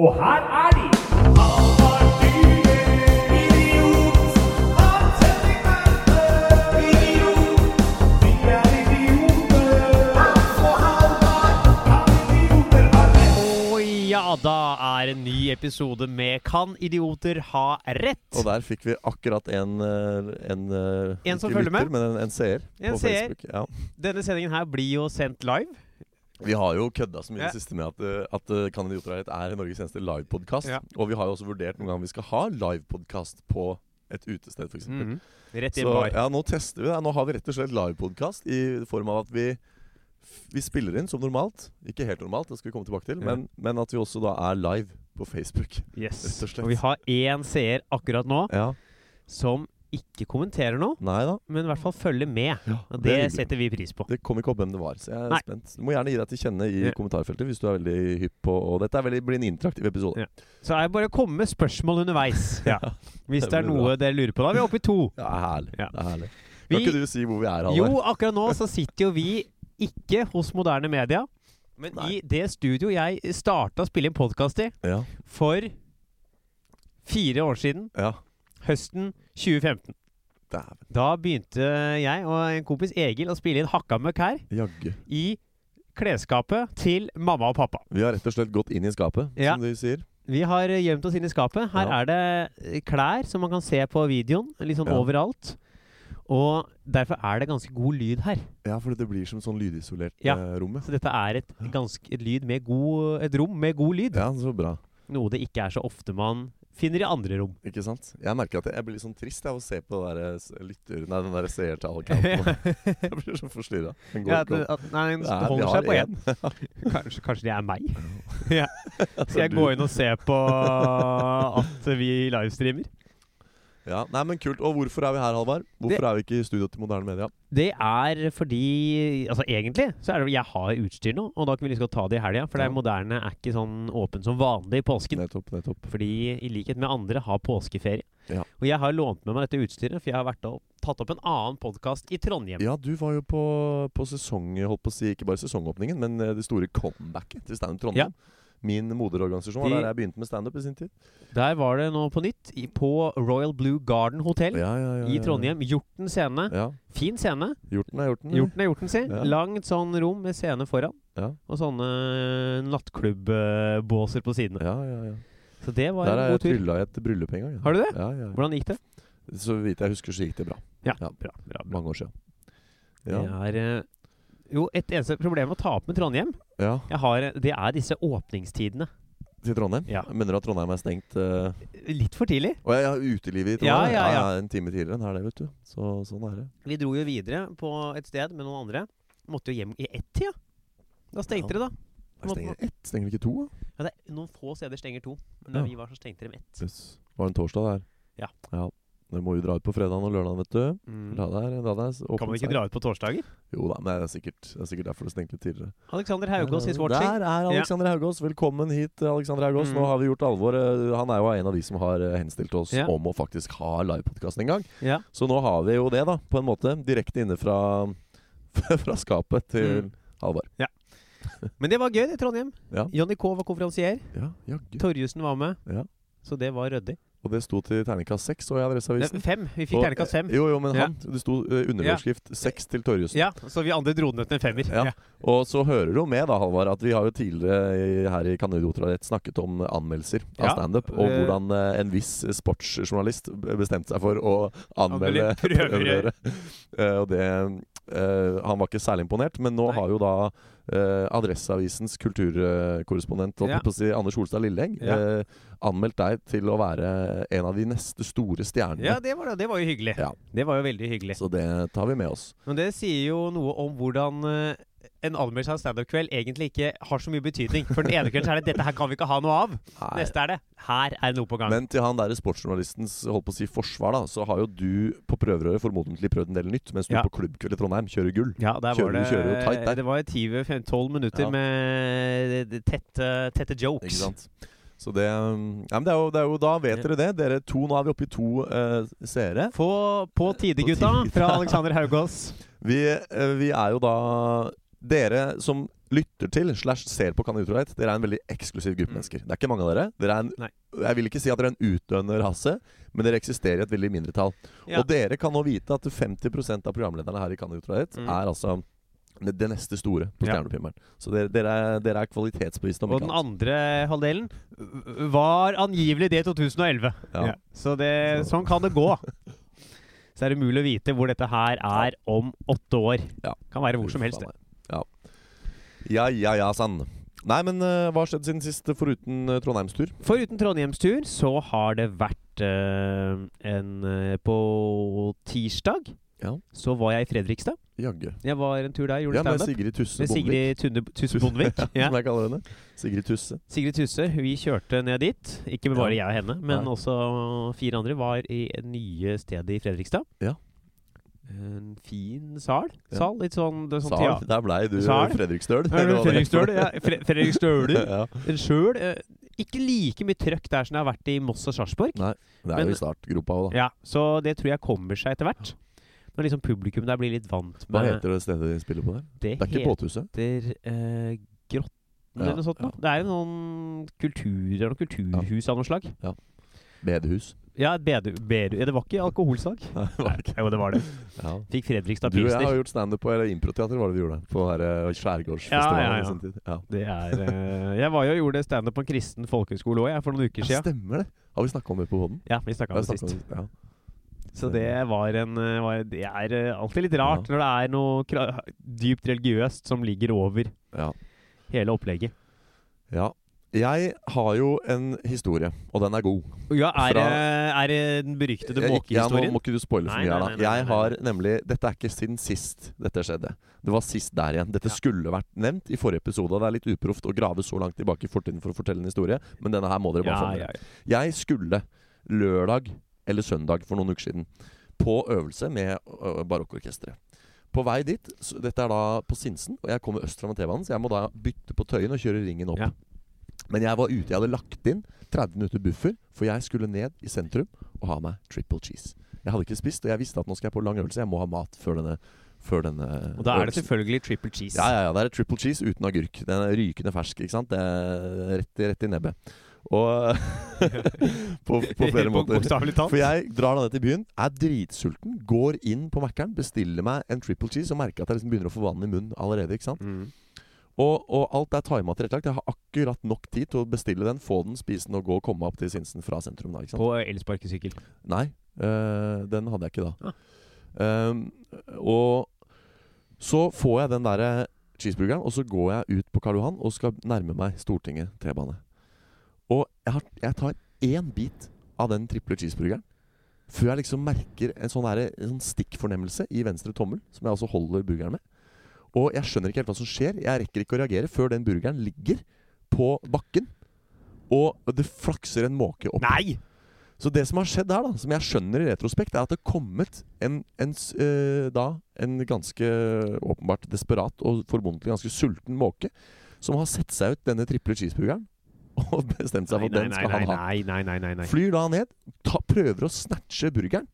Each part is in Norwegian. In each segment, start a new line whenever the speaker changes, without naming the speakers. Og her er de! Han var dyre, idiot. Han setter kampen, idiot. Vi er idioter. Altså, han var Han idioter har rett.
Og ja, da er en ny episode med Kan idioter ha rett?
Og der fikk vi akkurat en eh, En, eh,
En som
ikke
følger med?
Men en, en seer
En
på
seer.
Facebook. Ja.
Denne sendingen her blir jo sendt live.
Vi har jo kødda så mye i
Ja.
det siste med at, eh, at eh, Kan idioter ha rett er Norges eneste livepodkast.
Ja.
Og vi har jo også vurdert noen gang vi skal ha livepodkast på et utested, f.eks.
Mm, Rett i en
Mhm. Så
bar.
ja, nå tester vi det. Nå har vi rett og slett livepodkast i form av at vi vi spiller inn som normalt. Ikke helt normalt, det skal vi komme tilbake til.
Ja.
Men, men at vi også da er live på Facebook.
Yes.
Rett og slett.
Og vi har én seer akkurat nå
Ja,
som ikke kommenterer noe,
Nei da.
men i hvert fall følger med. Og
det er
det
hyggelig.
setter vi pris på.
Det kom ikke opp hvem det var, så jeg er
Nei.
spent. Du må gjerne gi deg til kjenne i
Ja.
kommentarfeltet hvis du er veldig hypp på Og dette er veldig, blir en interaktiv episode.
Ja. Så er det bare å komme med spørsmål underveis. Ja. Hvis det
det
er
blir
noe dere lurer på. Da er vi oppe i to.
Det er herlig.
Ja.
Det er herlig. Kan
Vi,
ikke du si hvor vi er,
jo,
Halvard?
akkurat nå så sitter jo vi ikke hos moderne media, men
Nei.
i det studio jeg starta å spille inn podkast i
Ja.
for fire år siden,
ja.
høsten 2015.
Dæven.
Da begynte jeg og en kompis Egil å spille inn Hakka møkk her
Jaggu.
i klesskapet til mamma og pappa.
Vi har rett og slett gått inn i skapet,
Ja.
som de sier.
Vi har gjemt oss inn i skapet. Her
Ja.
er det eh, klær som man kan se på videoen, litt sånn
Ja.
overalt. Og derfor er det ganske god lyd her.
Ja, for det blir som sånn lydisolert
Ja.
eh, rommet.
Så dette er et, ganske, et, lyd med god, et rom med god lyd.
Ja, så bra.
Noe det ikke er så ofte man finner i andre rom.
Ikke sant? Jeg merker at jeg, jeg blir litt sånn trist av å se på det der eh, s- lytter... Nei, den der seertallkampen.
ja,
jeg blir så forstyrra. Den går
at,
ikke opp.
at, nei, den
Det er- vi
holder
har
seg på én.
en.
Kanskje, kanskje det er meg. ja. Skal jeg
du-
gå inn og se på at vi livestreamer?
Ja. Nei, men kult. Og hvorfor er vi her, Halvard? Hvorfor
Det-
er vi ikke i studio til Moderne Media?
Det er fordi Altså egentlig så er det Jeg har utstyr nå, og da kan vi liksom ta det i helga. For det
Ja.
moderne er ikke sånn åpen som vanlig i påsken.
Nettopp, nettopp.
Fordi i likhet med andre har påskeferie.
Ja.
Og jeg har lånt med meg dette utstyret, for jeg har vært og tatt opp en annen podkast i Trondheim.
Ja, du var jo på, på sesong, holdt på å si, ikke bare sesongåpningen, men eh, det store comebacket til Standup Trondheim. Min moderorganisasjon var
De-
der jeg begynte med standup i sin tid.
Der var det nå på nytt, i, på Royal Blue Garden Hotel
Ja, ja, ja,
i
ja.
Trondheim. Hjorten scene.
Ja.
Fin scene.
Hjorten er hjorten.
Hjorten er hjorten, si.
Ja.
Langt sånn rom med scene foran.
Ja.
Og sånne nattklubb-båser på sidene.
Ja, ja, ja.
Så det var
Der har
en
jeg
god tur.
trylla i et bryllup en gang. ja.
Har du det?
Ja, ja.
Hvordan gikk det?
ja. Så vidt jeg husker, så gikk det bra.
Ja,
Ja.
bra, bra, bra.
Mange år siden. Ja. ja.
Det er eh, jo et eneste problem å ta opp med Trondheim. Jeg har, eh, det er disse åpningstidene.
Til Trondheim?
Ja.
Mener du at Trondheim er stengt eh,
Litt for tidlig.
Og jeg har utelivet i
Ja,
Trondheim.
ja, ja.
En time tidligere enn her, det, vet du. Så sånn er det.
Vi dro jo videre på et sted med noen andre. Måtte jo hjem i ett-tida. Da stengte det, da.
Jeg stenger ett, stenger vi ikke to? da?
Ja, det er noen få steder stenger to. Men da
Ja.
vi var, så stengte de ett.
Yes. Var det en torsdag der?
Ja. Mm.
ja. Du må jo dra ut på fredagen og lørdagen, vet du. La deg, la deg s-
Kan
åpne
man ikke
seg.
dra ut på torsdager?
Jo da, men det er sikkert, det er sikkert derfor det stengte litt tidligere. Eh,
Alexander Haugås i Swatching.
Der er Alexander Haugås. Velkommen hit, Alexander Haugås. Nå
Mm.
har vi gjort alvor. Eh, Han er jo en av de som har eh, henstilt oss
Ja.
om å faktisk ha livepodkast en gang.
Ja.
Så nå har vi jo det, da, på en måte. Direkte inne fra, fra skapet til
Mm.
Halvard.
Men det var gøy, det, Trondheim.
Ja.
Johnny K var konferansier.
Ja, jaggu.
Torjussen var med.
Ja.
Så det var ryddig.
Og det sto til terningkast seks, så jeg Adresseavisen.
Nei, Fem. Vi fikk
Og- eh,
terningkast fem.
Jo, jo, men
Ja.
han, det sto eh, underoverskrift seks til Torjussen.
Ja, så vi andre dro den ut med en femmer.
Ja. Og så hører du jo med, da, Halvard, at vi har jo tidligere i- her i Kandidater har rett snakket om anmeldelser
Ja.
av standup, og
Eh.
hvordan eh, en viss sportsjournalist bestemte seg for å anmelde
Anmelde prøverøre.
Eh, og det eh, Han var ikke særlig imponert, men
Nei.
nå har jo da eh, Adresseavisens kulturkorrespondent, holdt
Ja.
jeg på å si, Anders Holstad Lilleng,
Ja.
eh, anmeldt deg til å være en av de neste store stjernene.
Ja, det var, det. det var jo hyggelig.
Ja.
Det var jo veldig hyggelig.
Så det tar vi med oss.
Men det sier jo noe om hvordan eh, en anmeldelse av en standup-kveld egentlig ikke har så mye betydning. For den ene kvelden så er det 'dette her kan vi ikke ha noe av'.
Nei.
Neste er det 'her er det noe på gang'.
Men til han der sportsjournalistens holdt på å si forsvar, da, så har jo du på prøverøret formodentlig prøvd en del nytt, mens du
Ja.
på klubbkveld i Trondheim kjører gull.
ja, der
kjører-
var det,
du kjører jo tight der.
det var 10-12 minutter
Ja.
med tette, tette
Ikke
jokes.
sant? Så det, um, ja, men det, er jo, det er jo Da vet
Ja.
dere det. Dere to, Nå er vi oppe i to eh, seere.
Få på tide,
På
gutta,
tide.
fra Alexander Haugås.
Vi, eh, vi er jo da Dere som lytter til slash ser på Kan det utrolighet, dere er en veldig eksklusiv gruppe
Mm.
mennesker. Det er ikke mange av dere. dere er en,
Nei.
jeg vil ikke si at dere er en utdøende rase, men dere eksisterer i et veldig mindretall.
Ja.
Og dere kan nå vite at 50 av programlederne her i Kan det utrolighet
Mm.
er altså det, det neste store på
Ja.
Stjernepimmeren. Så dere, dere, er, dere er kvalitetsbevisste om
Og
ikke
den andre
annet.
halvdelen var angivelig det i 2011.
Ja.
Ja. Så det, sånn kan det gå. Så er det umulig å vite hvor dette her er om åtte år.
Ja.
Kan være hvor som helst. det.
Faen, Ja. ja, ja, ja, sann. Nei, men eh, hva har skjedd siden sist, foruten eh, Trondheimstur?
Foruten Trondheimstur så har det vært eh, en eh, På tirsdag
Ja.
så var jeg i Fredrikstad.
Jaggu.
Jeg var en tur der, gjorde
Ja, med
standup.
Sigrid Tusse
Med
Bondevik,
Sigrid Tunde, Tusse Bondevik. ja.
som jeg kaller henne. Sigrid Tusse.
Sigrid Tusse, vi kjørte ned dit. Ikke bare jeg og henne, men
Nei.
også fire andre var i det nye stedet i Fredrikstad.
Ja.
En fin sal.
Ja.
sal litt sånn, det er sånn
Sal. Der blei du
Sal.
Fredrikstøl. Eller hva det heter.
Fredrikstøl. Ja, Fre Fredrikstøler.
ja.
En skjøl. eh, Ikke like mye trøkk der som det har vært i Moss og Sarpsborg.
Nei, Det er
Men-
jo i startgropa òg, da.
Ja, så det tror jeg kommer seg etter hvert. Når liksom publikum der blir litt vant med
Hva heter det stedet de spiller på der?
Det,
Det er ikke Båthuset?
heter eh, Grotten eller
Ja,
noe sånt.
ja.
noe. Det er en sånn kultur, det er noe kulturhus av noe slag.
Bedehus?
Ja, et bedu, bedu. Ja, det var ikke alkoholsalg.
Nei, det var ikke.
Jo, det var det.
Ja.
Fikk Fredrikstad
Du og jeg har
Pilsner.
gjort standup på eller improteater, var det vi gjorde. På her, eh,
Ja,
Skjærgårdsfestivalen
ja, ja.
i sin tid. Ja.
Det er, eh, jeg var jo og gjorde standup på en kristen folkehøyskole òg, for noen uker
ja,
sia.
stemmer det! Har vi snakka om det på poden?
Ja, vi snakka om det sist.
Ja.
Så det var en eh, var, Det er eh, alltid litt rart når det er noe kra dypt religiøst som ligger over
Ja.
hele opplegget.
ja. Jeg har jo en historie, og den er god.
Ja,
er
er, det,
det-
den beryktede
Jeg- Ja, nå
måkehistorien?
må ikke du spoile for
Nei,
mye
nei,
her, da.
nei, nei,
Jeg
nei,
har nemlig Dette er ikke siden sist dette skjedde. Det var sist der igjen. Dette
Ja.
skulle vært nevnt i forrige episode. og Det er litt uproft å grave så langt tilbake i fortiden for å fortelle en historie, men denne her må dere bare få
ja,
med
ja,
dere. Jeg skulle lørdag eller søndag for noen uker siden på øvelse med ø, barokkorkesteret. På vei dit så Dette er da på Sinsen, og jeg kommer øst fra med T-banen, så jeg må da bytte på Tøyen og kjøre ringen opp.
Ja.
Men jeg var ute, jeg hadde lagt inn 30 minutter buffer, for jeg skulle ned i sentrum og ha meg triple cheese. Jeg hadde ikke spist, og jeg visste at nå skal jeg på lang øvelse, jeg må ha mat før denne, før denne
Og da er det
øvelsen.
selvfølgelig triple cheese.
Ja, ja, ja, det er et triple cheese uten agurk. Den er rykende fersk, ikke sant? Det er rett, i- rett i nebbet. Og på, på flere måter.
Bokstavelig talt.
For jeg drar da ned til byen, er dritsulten, går inn på Mækkern, bestiller meg en triple cheese og merker at jeg liksom begynner å få vann i munnen allerede. ikke sant?
Mm.
Og, og alt er tima tilrettelagt. Jeg har akkurat nok tid til å bestille den, få den, spise den og gå og komme meg opp til Sinsen fra sentrum. da, ikke sant?
På elsparkesykkel.
Nei, øh, den hadde jeg ikke da.
Ah.
Ehm, og så får jeg den derre cheeseburgeren, og så går jeg ut på Karl Johan og skal nærme meg Stortinget T-bane. Og jeg, har, jeg tar én bit av den triple cheeseburgeren før jeg liksom merker en sånn, derre- en sånn stikkfornemmelse i venstre tommel, som jeg også holder burgeren med. Og jeg skjønner ikke helt hva som skjer. Jeg rekker ikke å reagere før den burgeren ligger på bakken, og det flakser en måke opp.
Nei!
Så det som har skjedd her, da, som jeg skjønner i retrospekt, er at det har kommet en, en, s- eh, da, en ganske åpenbart desperat og formodentlig ganske sulten måke som har sett seg ut denne triple cheeseburgeren og bestemt seg for
Nei, nei,
at den
nei,
skal
nei,
han ha.
nei, nei, nei, nei, nei.
Flyr da ned, ta, prøver å snatche burgeren,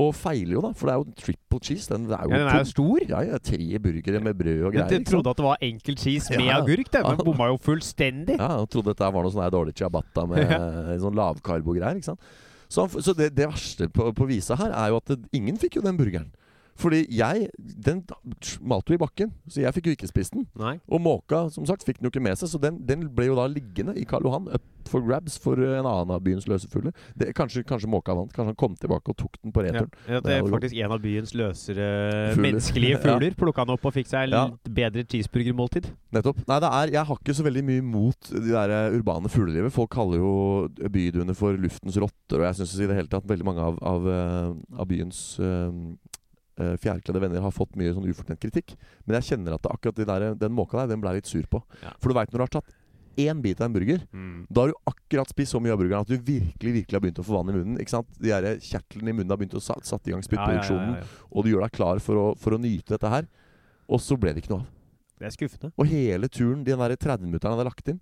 og feiler jo, da, for det er jo triple cheese. Den er jo,
Ja, den er jo
tung.
stor.
ja, ja, tre burgere med brød og
Men
greier.
den
ikke sant?
trodde at det var enkel cheese med
Ja.
agurk. Den
Ja.
Den bomma jo fullstendig.
Ja, han trodde dette her var noe sånn her dårlig ciabatta med sånn lavkarbo-greier. ikke sant? Så, han, f- så det, det verste på, på visa her er jo at det, ingen fikk jo den burgeren. Fordi jeg Den malte jo i bakken, så jeg fikk jo ikke spist den.
Nei.
Og måka som sagt fikk den jo ikke med seg, så den, den ble jo da liggende i Karl Johan. Up for grabs for eh, en annen av byens løse fugler. Det- Kanskje, kanskje måka vant. Kanskje han kom tilbake og tok den på
Ja,
returen.
at
Det
det
er
er
jo
faktisk en av byens løsere
Fugler.
menneskelige fugler plukka han opp og fikk seg
Ja.
litt bedre cheeseburgermåltid.
Nettopp. Nei, det er, jeg har ikke så veldig mye mot de der eh, urbane fuglelivet. Folk kaller jo byduene for luftens rotter, og jeg syns i det hele tatt veldig mange av, av, eh, av byens eh, eh, fjærkledde venner har fått mye sånn ufortjent kritikk. Men jeg kjenner at det, akkurat de der, den måka der, den ble jeg litt sur på.
Ja.
For du veit når du har tatt én bit av en burger, da har du akkurat spist så mye av burgeren at du virkelig virkelig har begynt å få vann i munnen. ikke sant? De der eh, kjertlene i munnen har begynt å sa, satt i gang spyttproduksjonen,
ja, ja.
og du gjør deg klar for å, for å nyte dette her. Og så ble det ikke noe av.
Det er skuffende.
Og hele turen, de der 30 minutterne jeg hadde lagt inn,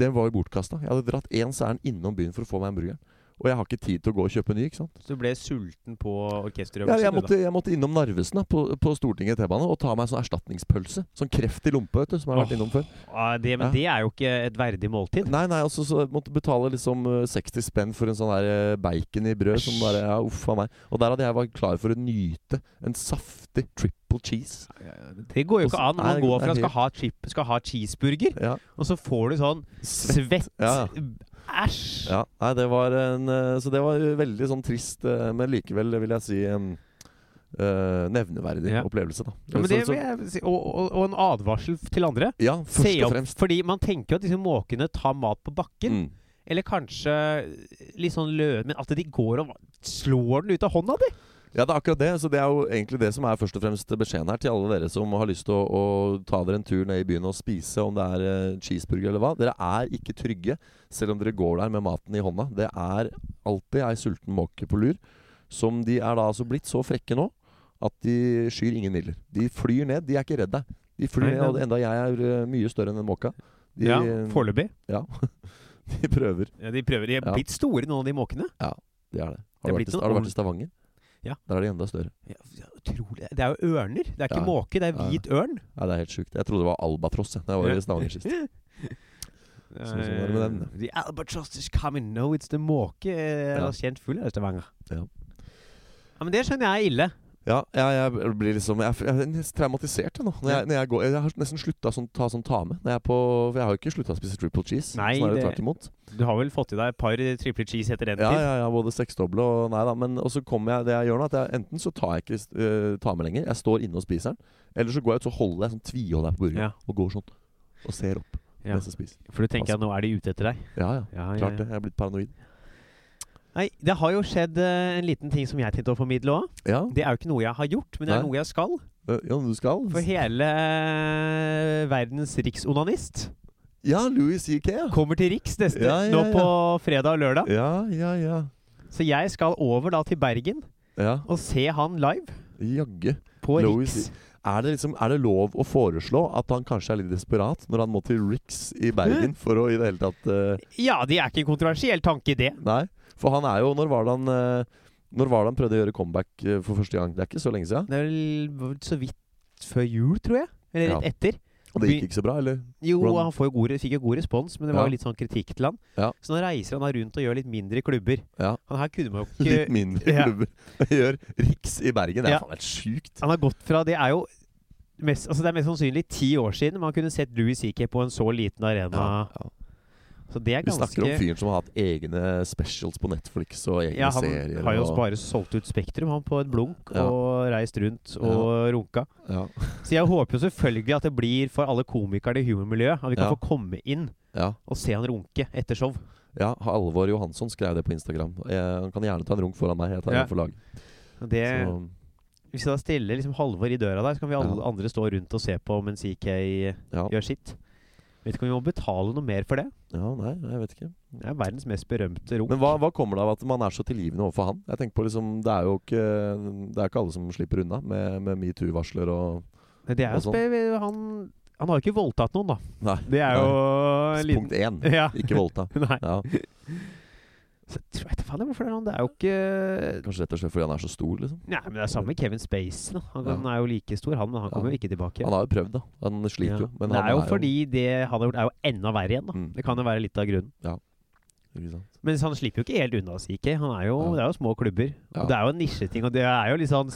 den var jo bortkasta. Jeg hadde dratt én særen innom byen for å få meg en burger. Og jeg har ikke tid til å gå og kjøpe ny. ikke sant?
Så du ble sulten på orkesterøvelsen?
Ja, jeg,
du, da?
måtte, jeg måtte innom Narvesen da, på, på Stortinget T-bane og ta meg en sånn erstatningspølse. Sånn kreft i lompe, vet du, som jeg har vært
Åh.
innom før.
Ah, det, men
Ja.
det er jo ikke et verdig måltid.
Nei, nei, altså, så jeg måtte betale liksom eh, 60 spenn for en sånn der eh, bacon i brød som bare ja, Uff a meg. Og der hadde jeg vært klar for å nyte en saftig triple cheese.
Det går jo
Og så-
ikke an.
Nei,
Man går
det er
fra skal
helt-
ha, chip, skal ha cheeseburger,
Ja.
og så får du sånn svett
Ja,
Æsj!
Ja, nei, det var en eh, Så det var veldig sånn trist, eh, men likevel vil jeg si em, eh, nevneverdig
Ja.
opplevelse, da.
Ja, men det
Så-
vil
så,
jeg si. og, og, og en advarsel til andre.
ja
Se
først og
opp,
fremst.
fordi man tenker jo at disse måkene tar mat på bakken.
Mm.
Eller kanskje litt sånn lø... Men at de går og slår den ut av hånda di!
Ja, det er akkurat det. Så det er jo egentlig det som er først og fremst beskjeden her til alle dere som har lyst til å, å ta dere en tur ned i byen og spise, om det er eh, cheeseburger eller hva. Dere er ikke trygge selv om dere går der med maten i hånda. Det er alltid ei sulten måke på lur, som de er da altså blitt så frekke nå at de skyr ingen midler. De flyr ned. De er ikke redd deg. De flyr
Nei,
ned, og
nei.
enda jeg er eh, mye større enn den måka. De, eh,
Ja, Foreløpig.
de prøver.
Ja, de prøver. De er
Ja.
blitt store, noen av de måkene.
De er
Det
det. Har, du
blir
vært, i-
ikke noe
har du vært
ordent-
i Stavanger?
Ja.
Der er de enda større.
Ja, utrolig. Det er jo ørner. Det er ikke
Ja.
måke, det er
Ja.
hvit ørn.
Nei, det er helt sjukt. Jeg trodde det var albatross jeg, da jeg var i Stavanger sist. Sånn som var det med den, da.
Eh, The albatross is coming, no it's the måke. eh,
Ja.
er Kjent fugl i Stavanger.
Ja.
Ja, men det skjønner jeg er ille.
Ja, jeg, jeg blir liksom Jeg, jeg er nesten traumatisert jeg, nå. Når jeg, når jeg, går, jeg har nesten slutta å sånn, ta sånn ta med. Når jeg er på, for jeg har jo ikke slutta å spise triple cheese.
Nei,
snarere
det-
tvert imot.
Du har vel fått i deg et par eh, triple cheese etter den
Ja,
tid?
ja, ja, både seksdoble og Nei da. Men og så kommer jeg Det jeg gjør nå, at jeg, enten så tar jeg ikke eh, ta med lenger. Jeg står inne og spiser den. Eller så går jeg ut, så holder jeg sånn tviholder jeg på burgeren
Ja.
og går sånn. Og ser opp
Ja.
mens jeg spiser.
For du tenker at nå er de ute etter deg?
Ja, ja.
Ja, ja,
Altså Klart
ja.
det. Jeg er blitt paranoid.
Nei, det har jo skjedd eh, en liten ting som jeg tenkte å formidle òg.
Ja,
Det er jo ikke noe jeg har gjort, men det er
Nei.
noe jeg skal.
eh, ja du skal
For hele eh, verdens riksonanist
Ja, Louis C.K. Ja.
kommer til Riks neste
Ja, ja,
nå
ja.
på fredag og lørdag.
ja, ja, ja.
Så jeg skal over da til Bergen
Ja,
og se han live
jaggu.
på
Louis-
Riks.
Er det, liksom, er det lov å foreslå at han kanskje er litt desperat når han må til Rix i Bergen for å i det hele tatt eh,
Ja, det er ikke en kontroversiell tanke, det.
Nei. For han er jo Når var det han eh, Når var det han prøvde å gjøre comeback eh, for første gang? Det er ikke så lenge siden.
Det er vel så vidt før jul, tror jeg. Eller rett
Ja.
etter.
Og det gikk ikke så bra, eller?
Jo,
Hvordan-
han får jo god, re- fikk jo god respons, men det var
Ja.
jo litt sånn kritikk til han.
Ja.
Så nå reiser han da rundt og gjør litt mindre klubber.
Ja.
Han her kunne man jo ikke
Litt mindre
Ja.
klubber. Gjør Rix i Bergen. Det er
Ja.
faen helt sjukt.
Han har gått fra Det er jo mest, altså det er mest sannsynlig ti år siden man kunne sett Louis CK på en så liten arena.
Ja.
Så det er
Vi snakker om
ganske
fyren som har hatt egne specials på Netflix og egne
ja, Han
serier.
har jo
og,
bare solgt ut Spektrum, han, på et blunk,
Ja.
og reist rundt og runka.
ja,
Så jeg håper jo selvfølgelig at det blir for alle komikere i humormiljøet, at vi kan
Ja.
få komme inn
ja,
og se han runke etter show.
ja. Alvor Johansson skrev det på Instagram. Eh, han kan gjerne ta en runk foran meg. Jeg tar
Ja.
en for lag.
Og Det,
Så,
hvis jeg da stiller liksom Halvor i døra der, så kan vi alle
Ja.
andre stå rundt og se på mens CK
ja.
gjør sitt. Vet ikke om vi må betale noe mer for det.
ja, nei, jeg vet ikke.
Det er verdens mest berømte runk.
Men hva, hva kommer det av at man er så tilgivende overfor han? Jeg tenker på liksom, Det er jo ikke, det er ikke alle som slipper unna med, med metoo-varsler og
Men Det er jo
og sånn.
spe- han, han har jo ikke voldtatt noen, da.
Nei.
Det er jo en liten
Punkt én.
ja.
Ikke voldta.
Nei.
Ja,
Så jeg vet faen jeg hvorfor det er han. Det er jo ikke
Kanskje rett og slett fordi han er så stor, liksom.
Nei, men det er samme med Kevin Spacey. nå. Han,
Ja.
han er jo like stor, han, men han
Ja.
kommer jo ikke tilbake.
Han har jo prøvd, da. Han sliter
Ja.
jo. Men
det
han
er jo fordi det han har gjort, er jo enda verre igjen. Da.
Mm.
Det kan jo være litt av grunnen.
Ikke sant?
Men han slipper jo ikke helt unna CK. Han er jo,
Ja.
Det er jo små klubber.
Ja.
Og det er jo en nisjeting. Og det er jo litt sånn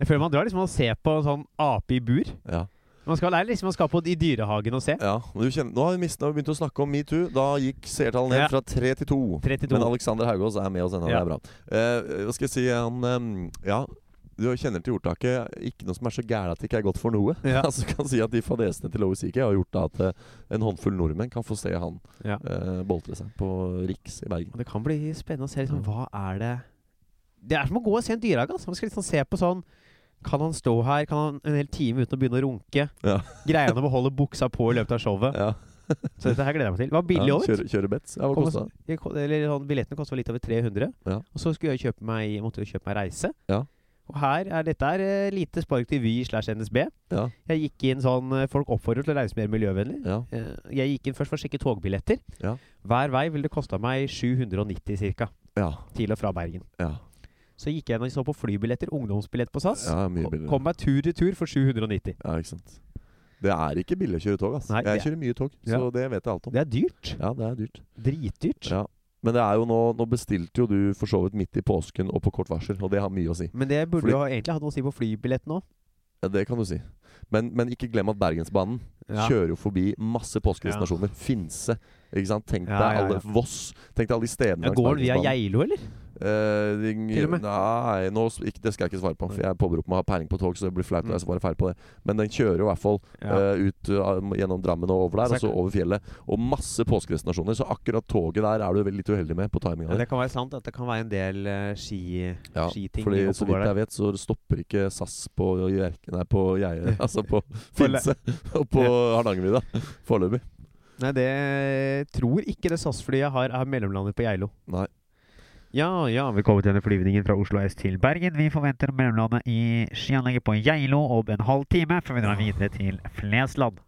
Jeg føler man drar liksom og ser på en sånn ape i bur.
Ja.
Man skal, det er liksom man skal på i dyrehagen og se.
ja. Men du kjenner, nå har vi mistet, nå har vi begynt å snakke om metoo. Da gikk seertallet ned
Ja.
fra tre til to.
32.
Men Alexander Haugås er med oss ennå.
Ja.
Det er bra. Eh, hva skal jeg si han, eh, Ja, du kjenner til ordtaket 'ikke noe som er så gære at det ikke er godt for noe'.
Ja.
altså kan si at de fadesene til Lovis Ikke har gjort da at eh, en håndfull nordmenn kan få se han
Ja.
eh, boltre seg på Riks i Bergen.
Og det kan bli spennende å se liksom, hva er det Det er som å gå og se en dyrehage. Altså. Man skal liksom se på sånn Kan han stå her Kan han en hel time uten å begynne å runke?
Ja.
Greier han å beholde buksa på i løpet av showet?
Ja,
Så dette her gleder jeg meg til. Det var billig
ja,
òg.
kjøre, kjøre bets. Ja, hva
Kom og-
kosta det?
Jeg ko- eller sånn, Billettene kosta litt over 300.
Ja.
Og så skulle jeg kjøpe meg, måtte jeg kjøpe meg reise.
Ja.
Og her er dette er eh, lite spark til Vy slash NSB.
Ja.
Jeg gikk inn sånn eh, Folk oppfordrer til å reise mer miljøvennlig.
Ja.
Eh, Jeg gikk inn først for å sjekke togbilletter.
Ja.
Hver vei ville det kosta meg 790 ca.
Ja.
til og fra Bergen.
Ja.
Så gikk jeg inn og så på flybilletter, ungdomsbillett på SAS.
ja mye
Ko-
billigere.
Kom meg tur til tur for 790.
Ja, ikke sant. Det er ikke billig å kjøre tog, ass.
Nei,
jeg
det er-
kjører mye tog, så
Ja.
det vet jeg alt om.
Det er dyrt.
Ja, det er dyrt.
Dritdyrt.
Ja. Men det er jo nå, nå bestilte jo du for så vidt midt i påsken og på kort varsel, og det har mye å si.
Men det burde
Fly-
jo ha- egentlig hatt noe å si på flybilletten òg.
Ja, det kan du si. Men, men ikke glem at Bergensbanen kjører jo forbi masse påskedestinasjoner. Finse. Ikke sant? Tenk deg
Ja, ja, ja.
alle Voss. Tenk deg alle de stedene langs
Går den via
Bergensbanen.
Geilo, eller?
Eh, det-
Til og med.
Nei, nå, s- ikke, det skal jeg ikke svare på. For jeg påberoper meg å ha peiling på tog, så det blir flaut
Mm.
når jeg svarer feil på det. Men den kjører jo i hvert fall eh, ut eh, gjennom Drammen og over der, og
Så-
så over fjellet. Og masse påskedestinasjoner. Så akkurat toget der er du vel litt uheldig med på timinga.
Ja, det kan være sant at det kan være en del eh, ski...
Ja,
skiting
fordi
oppå
så vidt
der.
jeg vet, så stopper ikke SAS på Jerke... Nei, på Geie Altså på
For le-
Finse og på Hardangervidda. Foreløpig.
Nei, det tror ikke det SAS-flyet har er mellomlandet på Geilo.
Nei.
Ja, ja, velkommen til denne flyvningen fra Oslo S til Bergen. Vi forventer mellomlandet i skianlegget på Geilo om en halv time, før vi drar videre til Flesland.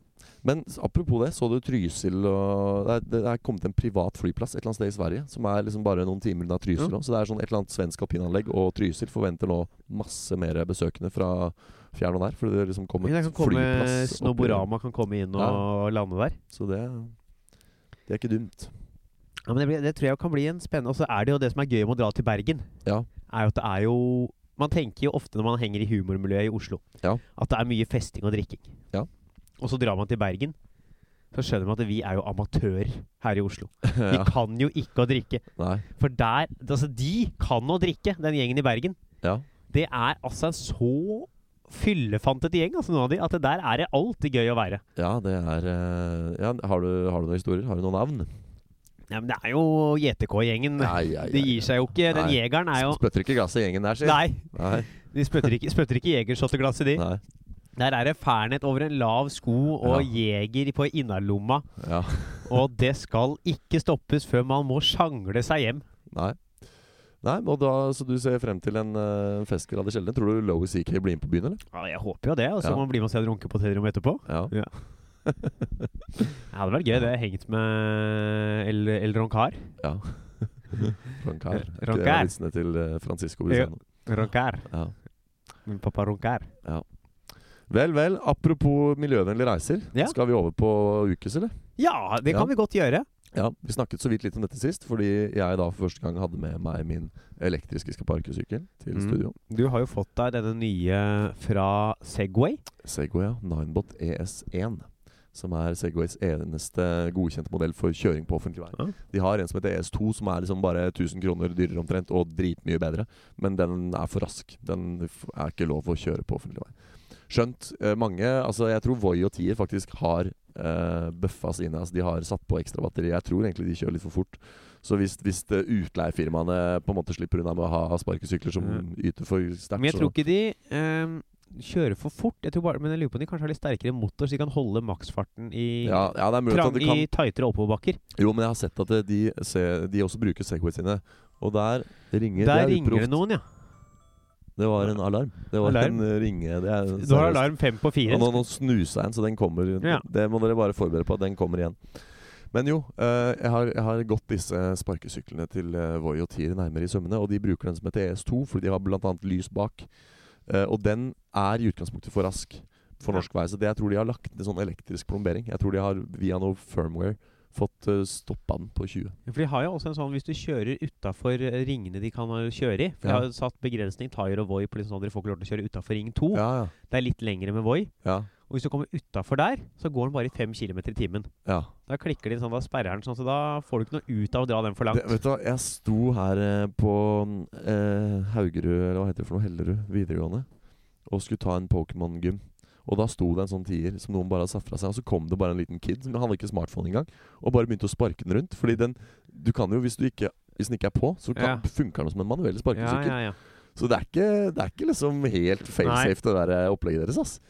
Men s- apropos det, så du Trysil og Det er, det er kommet en privat flyplass et eller annet sted i Sverige som er liksom bare noen timer unna Trysil
Ja.
også. Så det er sånn et eller annet svensk alpinanlegg, og Trysil forventer nå masse mer besøkende fra fjern og nær. Fordi det liksom kommer
Men det
et
kan komme,
flyplass. opp i-
Snoborama kan komme inn og lande der.
Så det, det er ikke dumt.
Ja, men det, blir, det tror jeg kan bli en spennende Og så er det jo det som er gøy med å dra til Bergen,
Ja.
er jo at det er jo Man tenker jo ofte når man henger i humormiljøet i Oslo,
Ja.
at det er mye festing og drikking.
Ja.
Og så drar man til Bergen, så skjønner man at vi er jo amatører her i Oslo. Vi
ja.
kan jo ikke å drikke.
Nei.
For der Altså, de kan å drikke, den gjengen i Bergen.
Ja.
Det er altså en så fyllefantete gjeng, altså noen av de, at det der er det alltid gøy å være.
Ja, det er eh, ja, har, du, har du noen historier? Har du noen navn?
Ja, men det er jo JTK-gjengen.
Nei, ja, ja,
Det gir seg jo ikke. Den
Nei.
jegeren er jo
Spytter ikke gasset i gjengen der, si.
Nei,
Nei.
de spytter ikke, spytter ikke jegershotteglasset, de.
Nei.
Der er det Fernet over en lav sko og jeger på innerlomma.
Ja.
Og det skal ikke stoppes før man må sjangle seg hjem.
Nei. Nei, og da, Så du ser frem til en eh, festkveld av de sjeldne? Tror du Lowie CK blir med på byen, eller?
Ja, jeg håper jo det. Og så
Ja.
må man bli med og se runke på hotellrommet etterpå.
Ja.
Ja, det hadde vært gøy. Det har jeg hengt med El, El Roncar.
Roncar. Er ikke det
Roncar.
Vitsene til eh, Francisco Busano.
Roncar.
Ja.
Min pappa Roncar.
Vel, vel. Apropos miljøvennlige reiser.
Ja.
Skal vi over på ukes, eller?
Ja, det
Ja.
kan vi godt gjøre.
Ja, Vi snakket så vidt litt om dette sist, fordi jeg da for første gang hadde med meg min elektriske sparkesykkel til
Mm.
studio.
Du har jo fått deg denne nye fra Segway.
Segway, ja. Ninebot ES1. Som er Segways eneste godkjente modell for kjøring på offentlig vei.
Ja.
De har en som heter ES2, som er liksom bare 1000 kroner dyrere omtrent, og dritmye bedre. Men den er for rask. Den f- er ikke lov å kjøre på offentlig vei. Skjønt eh, mange altså Jeg tror Voi og Tier faktisk har eh, bøffa sine. Altså de har satt på ekstra batteri. Jeg tror egentlig de kjører litt for fort. Så hvis, hvis eh, utleiefirmaene på en måte slipper unna med å ha sparkesykler som yter for sterkt
Men jeg
så-
tror ikke de ehm, kjører for fort. Jeg tror bare, men jeg lurer på om de kanskje har litt sterkere motor, så de kan holde maksfarten i,
ja, ja, det er mulig at
trang,
det kan
i tightere oppoverbakker.
Jo, men jeg har sett at eh, de, se- de også bruker Segway sine. Og der ringer
Der ringer
er
det
utproft.
noen, ja.
Det var en alarm. Det var
Alarm?
en eh, ringe det er,
Du har alarm fem på
Og
fire.
nå, nå snuser jeg en, så den kommer.
Ja.
Det må dere bare forberede på at den kommer igjen. Men jo, eh, jeg, har, jeg har gått disse sparkesyklene til eh, Voi og Tier nærmere i sømmene. Og de bruker den som heter ES2, fordi de har bl.a. lys bak. Eh, og den er i utgangspunktet for rask for
Ja.
norsk vei. Så det jeg tror de har lagt ned sånn elektrisk plombering. Jeg tror de har via noe firmware fått uh, stoppa den på 20.
For de har jo også en sånn Hvis du kjører utafor ringene de kan eh, kjøre i For
Ja.
De har jo satt begrensning Tire og Voi på liksom sånn at dere får ikke lov til å kjøre utafor ring 2.
Ja, ja.
Det er litt lengre med Voi.
Ja,
Og hvis du kommer utafor der, så går den bare i 5 km i timen.
ja.
Da klikker de sånn, da sperrer den sånn, så da får du ikke noe ut av å dra den for langt.
Det, vet du hva, jeg sto her eh, på eh, Haugerud, eller hva heter det for noe, Hellerud videregående, og skulle ta en Pokémon-gym. Og da sto det en sånn tier som noen bare hadde satt fra seg, og så kom det bare en liten kid, som han hadde ikke smartphone engang, og bare begynte å sparke den rundt. Fordi den, du kan jo, hvis du ikke hvis den ikke er på, så
Ja.
kan, funker den som en manuell sparkesykkel.
Ja, ja, ja.
Så det er ikke, det er ikke liksom helt failsafe, det der eh, opplegget deres, ass.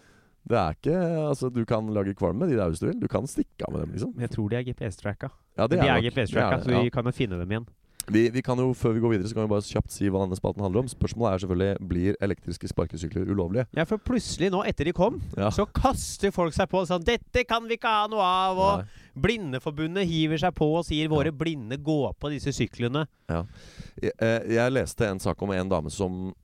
Det er ikke, altså Du kan lage kvalm med de der hvis du vil. Du kan stikke av med dem, liksom.
Men jeg tror de er GPS-tracka.
Ja,
De
det
er
nok- det
GPS-tracka,
det,
så vi altså, kan jo finne dem igjen.
Vi, vi kan jo, Før vi går videre, så kan vi bare kjapt si hva denne spalten handler om. Spørsmålet er selvfølgelig blir elektriske sparkesykler ulovlige.
Ja, for plutselig nå, etter de kom,
Ja.
så kaster folk seg på og sånn 'Dette kan vi ikke ha noe av!' Og
Nei.
Blindeforbundet hiver seg på og sier 'Våre blinde går på disse syklene'.
Jeg, eh, jeg leste en sak om en dame som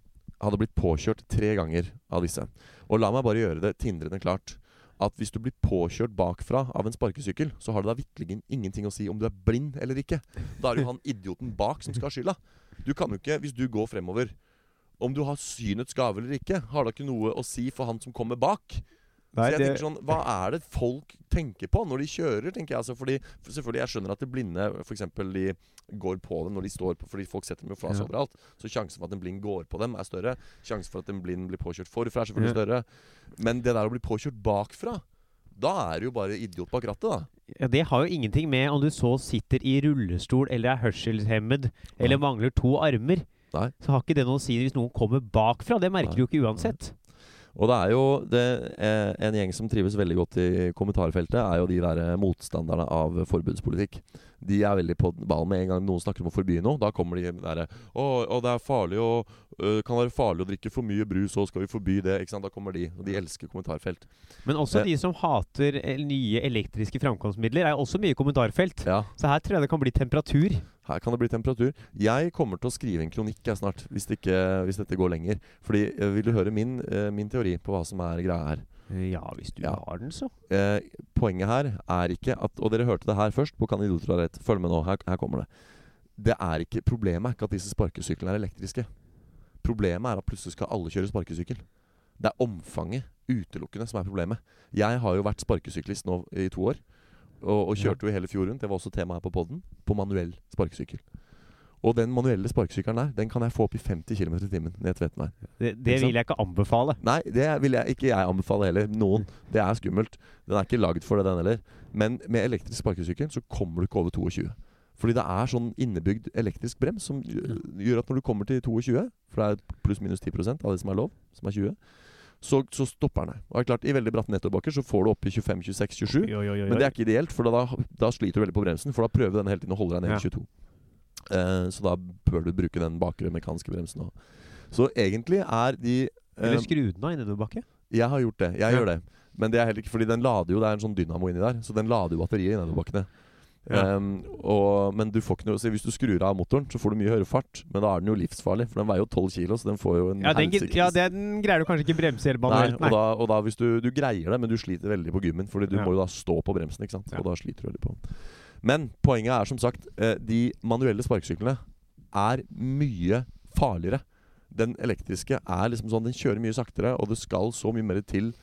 hadde blitt påkjørt tre ganger av disse. Og la meg bare gjøre det tindrende klart at hvis du blir påkjørt bakfra av en sparkesykkel, så har det da vitterlig ingenting å si om du er blind eller ikke. Da er det jo han idioten bak som skal ha skylda. Du kan jo ikke, hvis du går fremover Om du har synets gave eller ikke, har da ikke noe å si for han som kommer bak. så jeg tenker sånn, Hva er det folk tenker på når de kjører? tenker jeg altså, fordi, for Selvfølgelig, Jeg skjønner at de blinde for eksempel, de går på dem når de står på, fordi folk setter dem jo fra
Ja.
seg overalt. Så sjansen for at en blind går på dem, er større. Sjansen for at en blind blir påkjørt forfra, er selvfølgelig
Ja.
større. Men det der å bli påkjørt bakfra, da er det jo bare idiot bak rattet, da.
sånn, Ja, det har jo ingenting med om du så sitter i rullestol eller er hørselshemmed eller
Nei.
mangler to armer.
Nei.
Så har ikke det noe å si hvis noen kommer bakfra. Det merker
Nei.
du jo ikke uansett.
Og det er jo det, eh, en gjeng som trives veldig godt i kommentarfeltet, er jo de der eh, motstanderne av forbudspolitikk. De er veldig på ballen med en gang noen snakker om å forby noe. Da kommer de derre Å, å, det er farlig å øh, Kan være farlig å drikke for mye brus, og skal vi forby det? Ikke sant? Da kommer de. Og de elsker kommentarfelt.
Men også
Eh.
de som hater eh, nye elektriske framkomstmidler, er jo også mye kommentarfelt.
Ja,
Så her tror jeg det kan bli temperatur.
her kan det bli temperatur. Jeg kommer til å skrive en kronikk jeg snart, hvis, det ikke, hvis dette går lenger. Fordi eh, vil du høre min, eh, min teori på hva som er greia her?
Ja, hvis du
Ja.
har den, så.
eh, poenget her er ikke at Og dere hørte det her først på Kan idioter ha rett. Følg med nå. Her, her kommer det. Det er ikke, Problemet er ikke at disse sparkesyklene er elektriske. Problemet er at plutselig skal alle kjøre sparkesykkel. Det er omfanget utelukkende som er problemet. Jeg har jo vært sparkesyklist nå i to år. Og, og
Ja.
kjørte jo hele fjor rundt. Det var også tema her på poden. På manuell sparkesykkel. Og den manuelle sparkesykkelen der, den kan jeg få opp i 50 km i timen ned til Tvetenvei.
Det,
Ikke
det
sant?
vil jeg ikke anbefale.
Nei, det vil jeg, ikke jeg anbefale heller. Noen. Det er skummelt. Den er ikke lagd for det, den heller. Men med elektrisk sparkesykkel så kommer du ikke over 22. Fordi det er sånn innebygd elektrisk brems som gjø- gjør at når du kommer til 22, for det er pluss-minus 10 av det som er lov, som er 20, så, så stopper den deg. Og det er klart, I veldig bratte nettobakker så får du opp i 25,
Oi,
26, 27.
oi, oi,
Men
oi.
det er ikke ideelt, for da, da sliter du veldig på bremsen. For da prøver den hele tiden å holde deg ned i
Ja.
22. Eh, så da bør du bruke den bakre mekaniske bremsen òg. Så egentlig er de eh,
Eller skru den av i nedoverbakke.
jeg har gjort det. Jeg
Ja.
gjør det. Men det er heller ikke fordi den lader jo, det er en sånn dynamo inni der, så den lader jo batteriet i nedoverbakkene.
Ja.
Um, og, men du får ikke noe så Hvis du skrur av motoren, så får du mye høyere fart, men da er den jo livsfarlig, for den veier jo 12 kilo, så den får jo en
Ja, den,
helsike-
ja, den greier du kanskje ikke bremse helt
Nei,
manuelt.
og, da, og da hvis du, du greier det, men du sliter veldig på gymmen. Fordi du
Ja.
må jo da stå på bremsen, ikke sant.
Ja.
Og da sliter du veldig på den. Men poenget er som sagt, eh, de manuelle sparkesyklene er mye farligere. Den elektriske er liksom sånn, den kjører mye saktere, og det skal så mye mer til å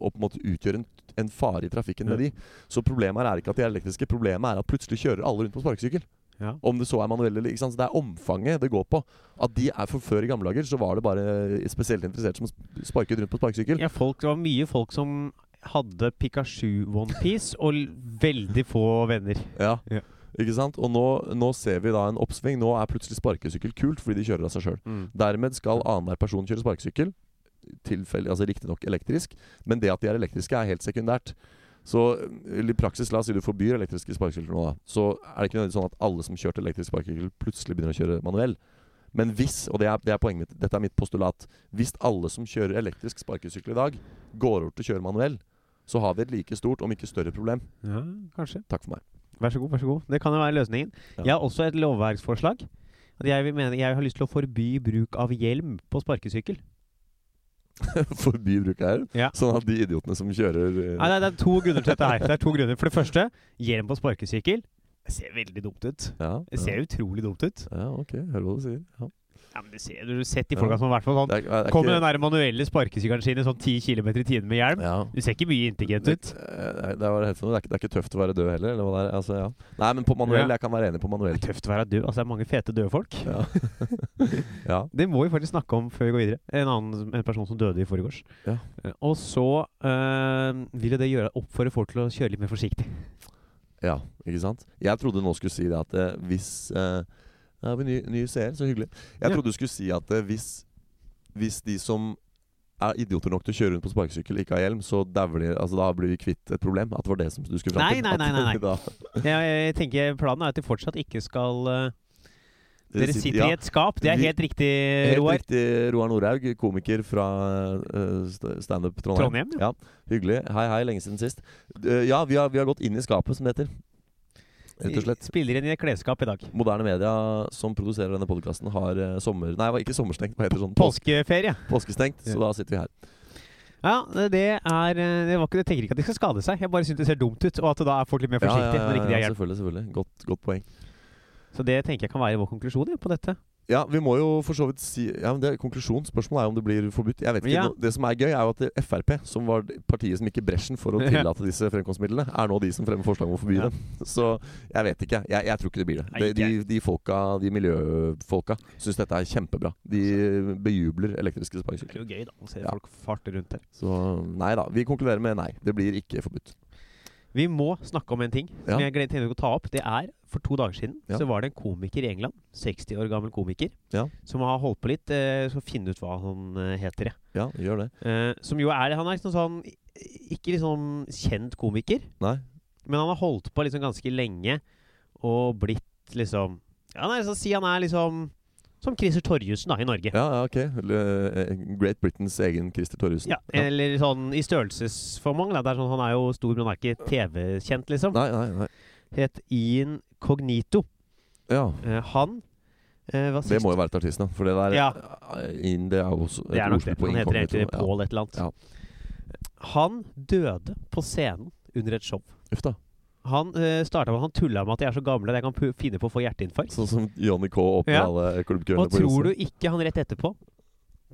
å på en måte utgjøre en, en fare i trafikken med de. Så problemet her er ikke at de er elektriske, problemet er at plutselig kjører alle rundt på sparkesykkel.
Ja.
Om det så er manuelle eller ikke sant? Så det er omfanget det går på. At de er for før i gamle dager, så var det bare eh, spesielt interesserte som sp- sparket rundt på sparkesykkel.
Ja, folk, det var mye folk som hadde Pikachu Onepiece, og l- veldig få venner.
Ja.
Ja.
Ikke sant? Og nå, nå ser vi da en oppsving. Nå er plutselig sparkesykkel kult fordi de kjører av seg sjøl.
Mm.
Dermed skal annenhver person kjøre sparkesykkel. Tilfelle, altså Riktignok elektrisk, men det at de er elektriske, er helt sekundært. Så eller i praksis, la oss si du forbyr elektriske sparkesykler nå, da. Så er det ikke nødvendigvis sånn at alle som kjørte elektrisk sparkesykkel, plutselig begynner å kjøre manuell. Men hvis, og det er, det er poenget mitt, dette er mitt postulat Hvis alle som kjører elektrisk sparkesykkel i dag, går over til å kjøre manuell, så har vi et like stort, om ikke større, problem.
Ja, kanskje.
Takk for meg.
Vær så god, vær så god. Det kan jo være løsningen.
Ja.
Jeg har også et lovverksforslag. At jeg, vil mene, jeg har lyst til å forby bruk av hjelm på sparkesykkel.
Forby bruk av hjelm.
Ja.
Sånn at de idiotene som kjører eh,
Nei, nei, det er to grunner til dette her. Det er to grunner. For det første, hjelm på sparkesykkel det ser veldig dumt ut.
ja,
Det ser
ja.
utrolig dumt ut.
ja, ok. Hører hva du sier. Ja.
Ja, men du ser, du har sett de
Ja.
folka som har vært på sånn
Det er- det er
Kommer
ikke-
den der manuelle sparkesykkelen sin i sånn 10 km i timen med hjelm.
ja.
Du ser ikke mye intelligent
Det,
ut.
eh, det, var helt sånn. det, er ikke, det er ikke tøft å være død heller. Eller hva det er. Altså, ja. Nei, men på manuell.
Ja.
Jeg kan være enig
Det
på manuell.
er tøft å være død. Altså, det er mange fete døde folk.
Ja. ja.
Det må vi faktisk snakke om før vi går videre. En annen en person som døde i forgårs.
Ja.
Eh, Og så eh, vil jo det gjøre oppfordre folk til å kjøre litt mer forsiktig.
ja, ikke sant? Jeg trodde nå skulle si det at eh, hvis eh, Da har vi ny, ny seer, så hyggelig. Jeg
Ja.
trodde du skulle si at eh, hvis, hvis de som er idioter nok til å kjøre rundt på sparkesykkel, ikke har hjelm, så dauer de altså, Da blir vi kvitt et problem. At det var det som du skulle fram
Nei,
til.
nei, nei, nei, nei.
At, da,
Jeg, jeg tenker Planen er at de fortsatt ikke skal eh, Dere sitter i et skap. Det er
Vi-
helt riktig,
Helt
Roar.
riktig, Roar Norhaug, komiker fra eh, st- standup Trondheim.
Trondheim,
ja. Hyggelig. Hei, hei, lenge siden sist. Eh, ja, vi har, vi har gått inn i skapet, som det heter. Rett og slett.
Spiller inn i et klesskap i dag.
Moderne media som produserer denne podkasten, har eh, sommer... Nei, ikke sommerstengt, hva heter det sånn?
Påskeferie.
Pås- Påskestengt. Så da sitter vi her.
Ja, det er eh, det var ikke, Jeg tenker ikke at de skal skade seg. Jeg bare syns det ser dumt ut, og at da er folk litt mer forsiktige når ikke de har hjelp.
selvfølgelig. selvfølgelig. Godt, godt poeng. altså.
Så det tenker jeg kan være vår konklusjon ja, på dette.
Ja, vi må jo for så vidt si ja, men det, Konklusjon. Spørsmålet er om det blir forbudt. Jeg vet ikke,
Ja.
nå- Det som er gøy, er jo at det- Frp, som var det partiet som gikk i bresjen for å
Ja.
tillate disse fremkomstmidlene, er nå de som fremmer forslag om å forby
Ja.
dem. Så jeg vet ikke. Jeg, jeg tror ikke det blir det.
Nei,
De, de, de folka, de miljøfolka syns dette er kjempebra. De bejubler elektriske
Det
sparkesykler.
blir jo gøy, da. Å se
Ja.
folk farte rundt her.
Så nei da. Vi konkluderer med nei. Det blir ikke forbudt.
Vi må snakke om en ting
Ja.
som jeg gleder til å ta opp. Det er for to dager siden
Ja.
så var det en komiker i England, 60 år gammel komiker,
Ja.
som har holdt på litt, eh, så finne ut hva han eh, heter. ja.
Ja, gjør det.
Eh, som jo er Han er liksom sånn ikke liksom kjent komiker,
Nei.
men han har holdt på liksom ganske lenge og blitt liksom Ja, nei, så si han er liksom som Christer Torjussen da, i Norge.
Ja, ja, ok. Eller, eh, Great Britains egen Christer Torjussen.
Ja, Eller sånn i størrelsesformang. Da. Det er sånn, han er jo stor, men han er ikke TV-kjent, liksom.
Nei, nei, nei.
Het Ian Cognito.
Ja.
Eh, han eh, var sist
Det må jo være et artist, da. For det der
Ja.
inn, Det er jo også
Det er nok det.
Oslo på
Han heter
inkognito.
egentlig Pål et eller annet.
Ja.
Han døde på scenen under et show.
Ja. Uff da.
Han uh, starta med at han tulla med at de er så gamle at jeg kan pu- finne på å få hjerteinfarkt.
Sånn som Johnny K åpner
Ja.
alle klubbkøene
Og tror du ikke han rett etterpå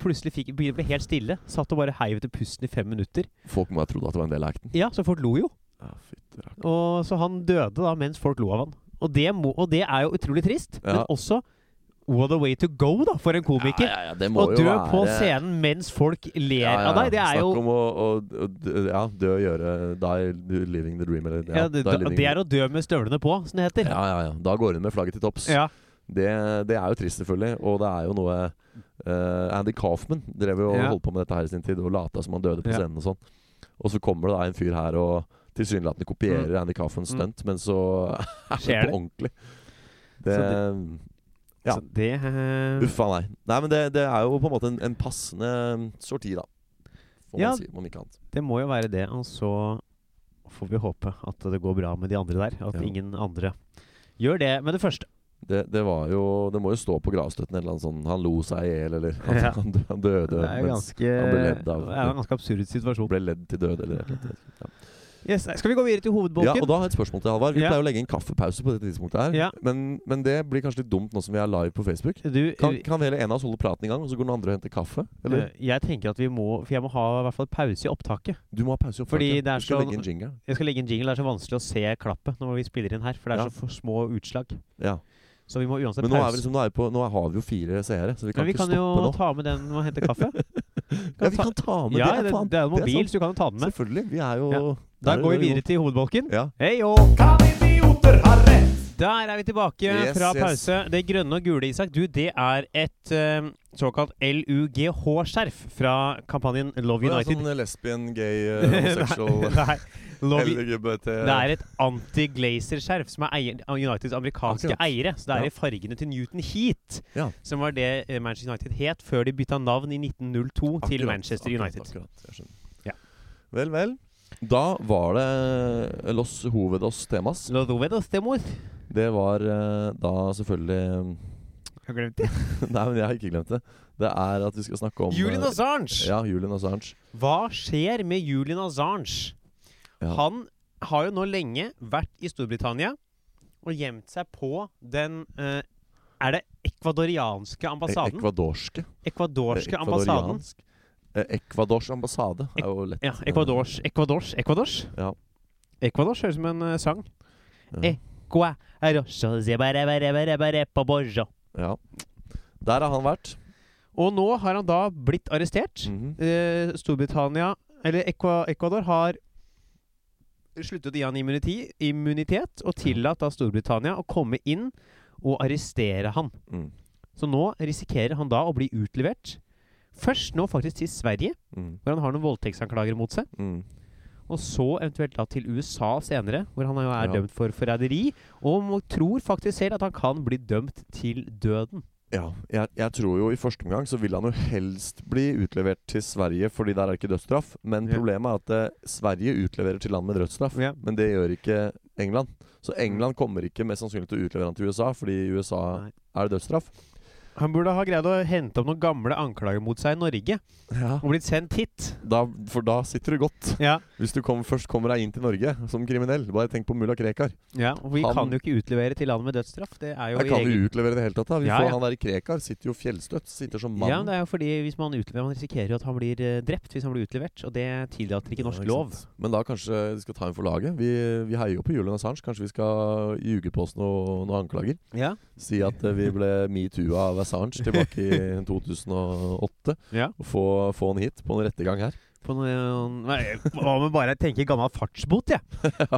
plutselig fikk, ble ble helt stille? Satt og bare heiv etter pusten i fem minutter.
Folk må ha trodd at det var en del av acten.
Ja, så folk lo jo.
Ja, fytti rakker.
Og så han døde da mens folk lo av han. Og det, må, og det er jo utrolig trist,
Ja.
men også what a way to go da, for en komiker.
Ja, ja, ja, det
Å
må jo
dø
være-
på scenen mens folk ler
Ja, ja,
av deg, det er jo
Snakk om å, å, å d- ja, dø og gjøre Die living the dream, eller
ja, det,
die living-
det er å dø med støvlene på, som det heter.
ja, ja, ja. Da går hun med flagget til topps.
Ja.
Det, det er jo trist, selvfølgelig. Og det er jo noe eh, Andy Kaufman drev jo og
Ja.
holdt på med dette her i sin tid og lata som han døde på
Ja.
scenen og sånn. Og så kommer det da en fyr her og tilsynelatende kopierer Andy Kaufmans
Mm.
stunt, men så er det
Skjer det.
på ordentlig. Det, Ja.
Så det eh,
Uff a meg. Nei, men det, det er jo på en måte en, en passende mm, sorti, da. Får
Ja.
man si, om ikke annet.
Det må jo være det. Og så får vi håpe at det går bra med de andre der. At
Ja.
ingen andre gjør det med det første.
Det, det var jo Det må jo stå på gravstøtten et eller annet sånn Han lo seg i hjel, eller han,
Ja.
han, dø- han døde
Det er jo
mens
ganske,
han ble ledd av-
det er jo en ganske absurd situasjon.
Ble ledd til døde, eller et eller annet.
Yes, skal vi gå videre til
Ja, og
hovedbolken?
da har jeg et spørsmål til Halvard. Vi
Ja.
pleier å legge en kaffepause på dette tidspunktet her.
Ja.
Men, men det blir kanskje litt dumt nå som vi er live på Facebook.
du,
Kan, kan vi heller en av oss holde praten i gang, og så går den andre og henter kaffe? Eller?
Eh, Jeg tenker at vi må For jeg må ha i hvert fall pause i opptaket.
Du må ha pause i opptaket.
Fordi det er
du skal
sånn-
legge inn jingle.
Jeg skal legge inn jingle. Det er så vanskelig å se klappet når vi spiller inn her. For det er
Ja.
så for små utslag.
Ja.
Så vi må uansett
Men nå, er vi
pause.
liksom, nå, er vi på, nå har vi jo fire seere, så vi kan
Men vi
ikke
kan
stoppe
jo
nå.
ta med den og hente kaffe.
ja, vi kan ta med
ja,
det.
det,
faen,
det er en mobil,
sant.
så du kan jo ta den med.
Selvfølgelig. Vi er jo
Ja.
der
Da
er
går vi
jo-
videre til hovedbolken.
Ja.
Hei, jo!
Kan idioter ha rett?
Der er vi tilbake
Yes,
fra
yes.
pause. Det grønne og gule, Isak, du, det er et eh, såkalt LUGH-skjerf fra kampanjen Love
Å, ja,
United.
Sånn lesbian, gay, eh, homosexual
Nei, Love,
LGBT
det er et anti-glazer-skjerf som er eier, av Uniteds amerikanske
Akkurat.
eiere. Så det
Ja.
er i fargene til Newton Heat,
Ja.
som var det eh, Manchester United het før de bytta navn i 1902 til
Akkurat,
Manchester
akkurat,
United.
Akkurat, jeg skjønner.
Ja.
Vel, vel. Da var det Los Hovedos temas.
Lo dovedos temos.
Det var eh, da selvfølgelig
Jeg har glemt det.
Nei, men jeg har ikke glemt det. Det er at vi skal snakke om eh,
Julian Assange!
Ja, Julian Assange. E-
Hva skjer med Julian Assange?
Ja.
Han har jo nå lenge vært i Storbritannia og gjemt seg på den eh, Er det ekvadorianske
E-
ambassaden?
Ekvadorske.
Ekvadorske
Eh,
ambassaden.
ekvadoriansk. Eh, Ekvadors ambassade er jo lett.
Ja, Ekvadors, Ekvadors, Ekvadors.
Ja.
Ekvadors høres ut som en eh, sang.
Ja.
eh. Qua rosso, zebare, bare, bare, bare, på borro.
ja. Der har han vært.
Og nå har han da blitt arrestert.
Mhm.
Eh, Storbritannia Eller Equa- Ecuador har sluttet å gi han immuniti, immunitet og tillatt da Storbritannia å komme inn og arrestere han.
Mm.
Så nå risikerer han da å bli utlevert. Først nå faktisk til Sverige,
Mm.
hvor han har noen voldtektsanklager mot seg.
Mm.
Og så eventuelt da til USA senere, hvor han jo er
Ja.
dømt for forræderi. Og må- tror faktisk selv at han kan bli dømt til døden.
Ja, jeg, jeg tror jo i første omgang så vil han jo helst bli utlevert til Sverige, fordi der er det ikke dødsstraff. Men
Ja.
problemet er at eh, Sverige utleverer til land med dødsstraff,
Ja. Mm.
men det gjør ikke England. Så England kommer ikke mest sannsynlig til å utlevere han til USA, fordi i USA
Nei.
er det dødsstraff.
Han burde ha greid å hente opp noen gamle anklager mot seg i Norge og blitt sendt hit.
Da, for da sitter du godt.
Ja,
Hvis du kom, først kommer deg inn til Norge som kriminell. Bare tenk på mulla Krekar.
ja og Vi
Han-
kan jo ikke utlevere til land med dødsstraff. Det er jo
Jeg
i
kan
egen-
jo utlevere i det hele tatt. Da. Vi
Ja,
får
ja.
Han der Krekar sitter jo fjellstøtt. Sitter som mann.
Ja, men det er jo fordi hvis man utleverer Man risikerer jo at han blir eh, drept hvis han blir utlevert, og det tillater ikke norsk
Ja,
lov.
sant. Men da kanskje de skal ta en for laget. Vi, vi heier jo på Julian Assange. Kanskje vi skal ljuge på oss noen noe anklager.
Ja.
Si at eh, vi ble metoo-a av Assange tilbake i 2008.
Ja.
Og få, få han hit på en rettegang her.
På noen, nei, hva med bare tenke gammel fartsbot, jeg?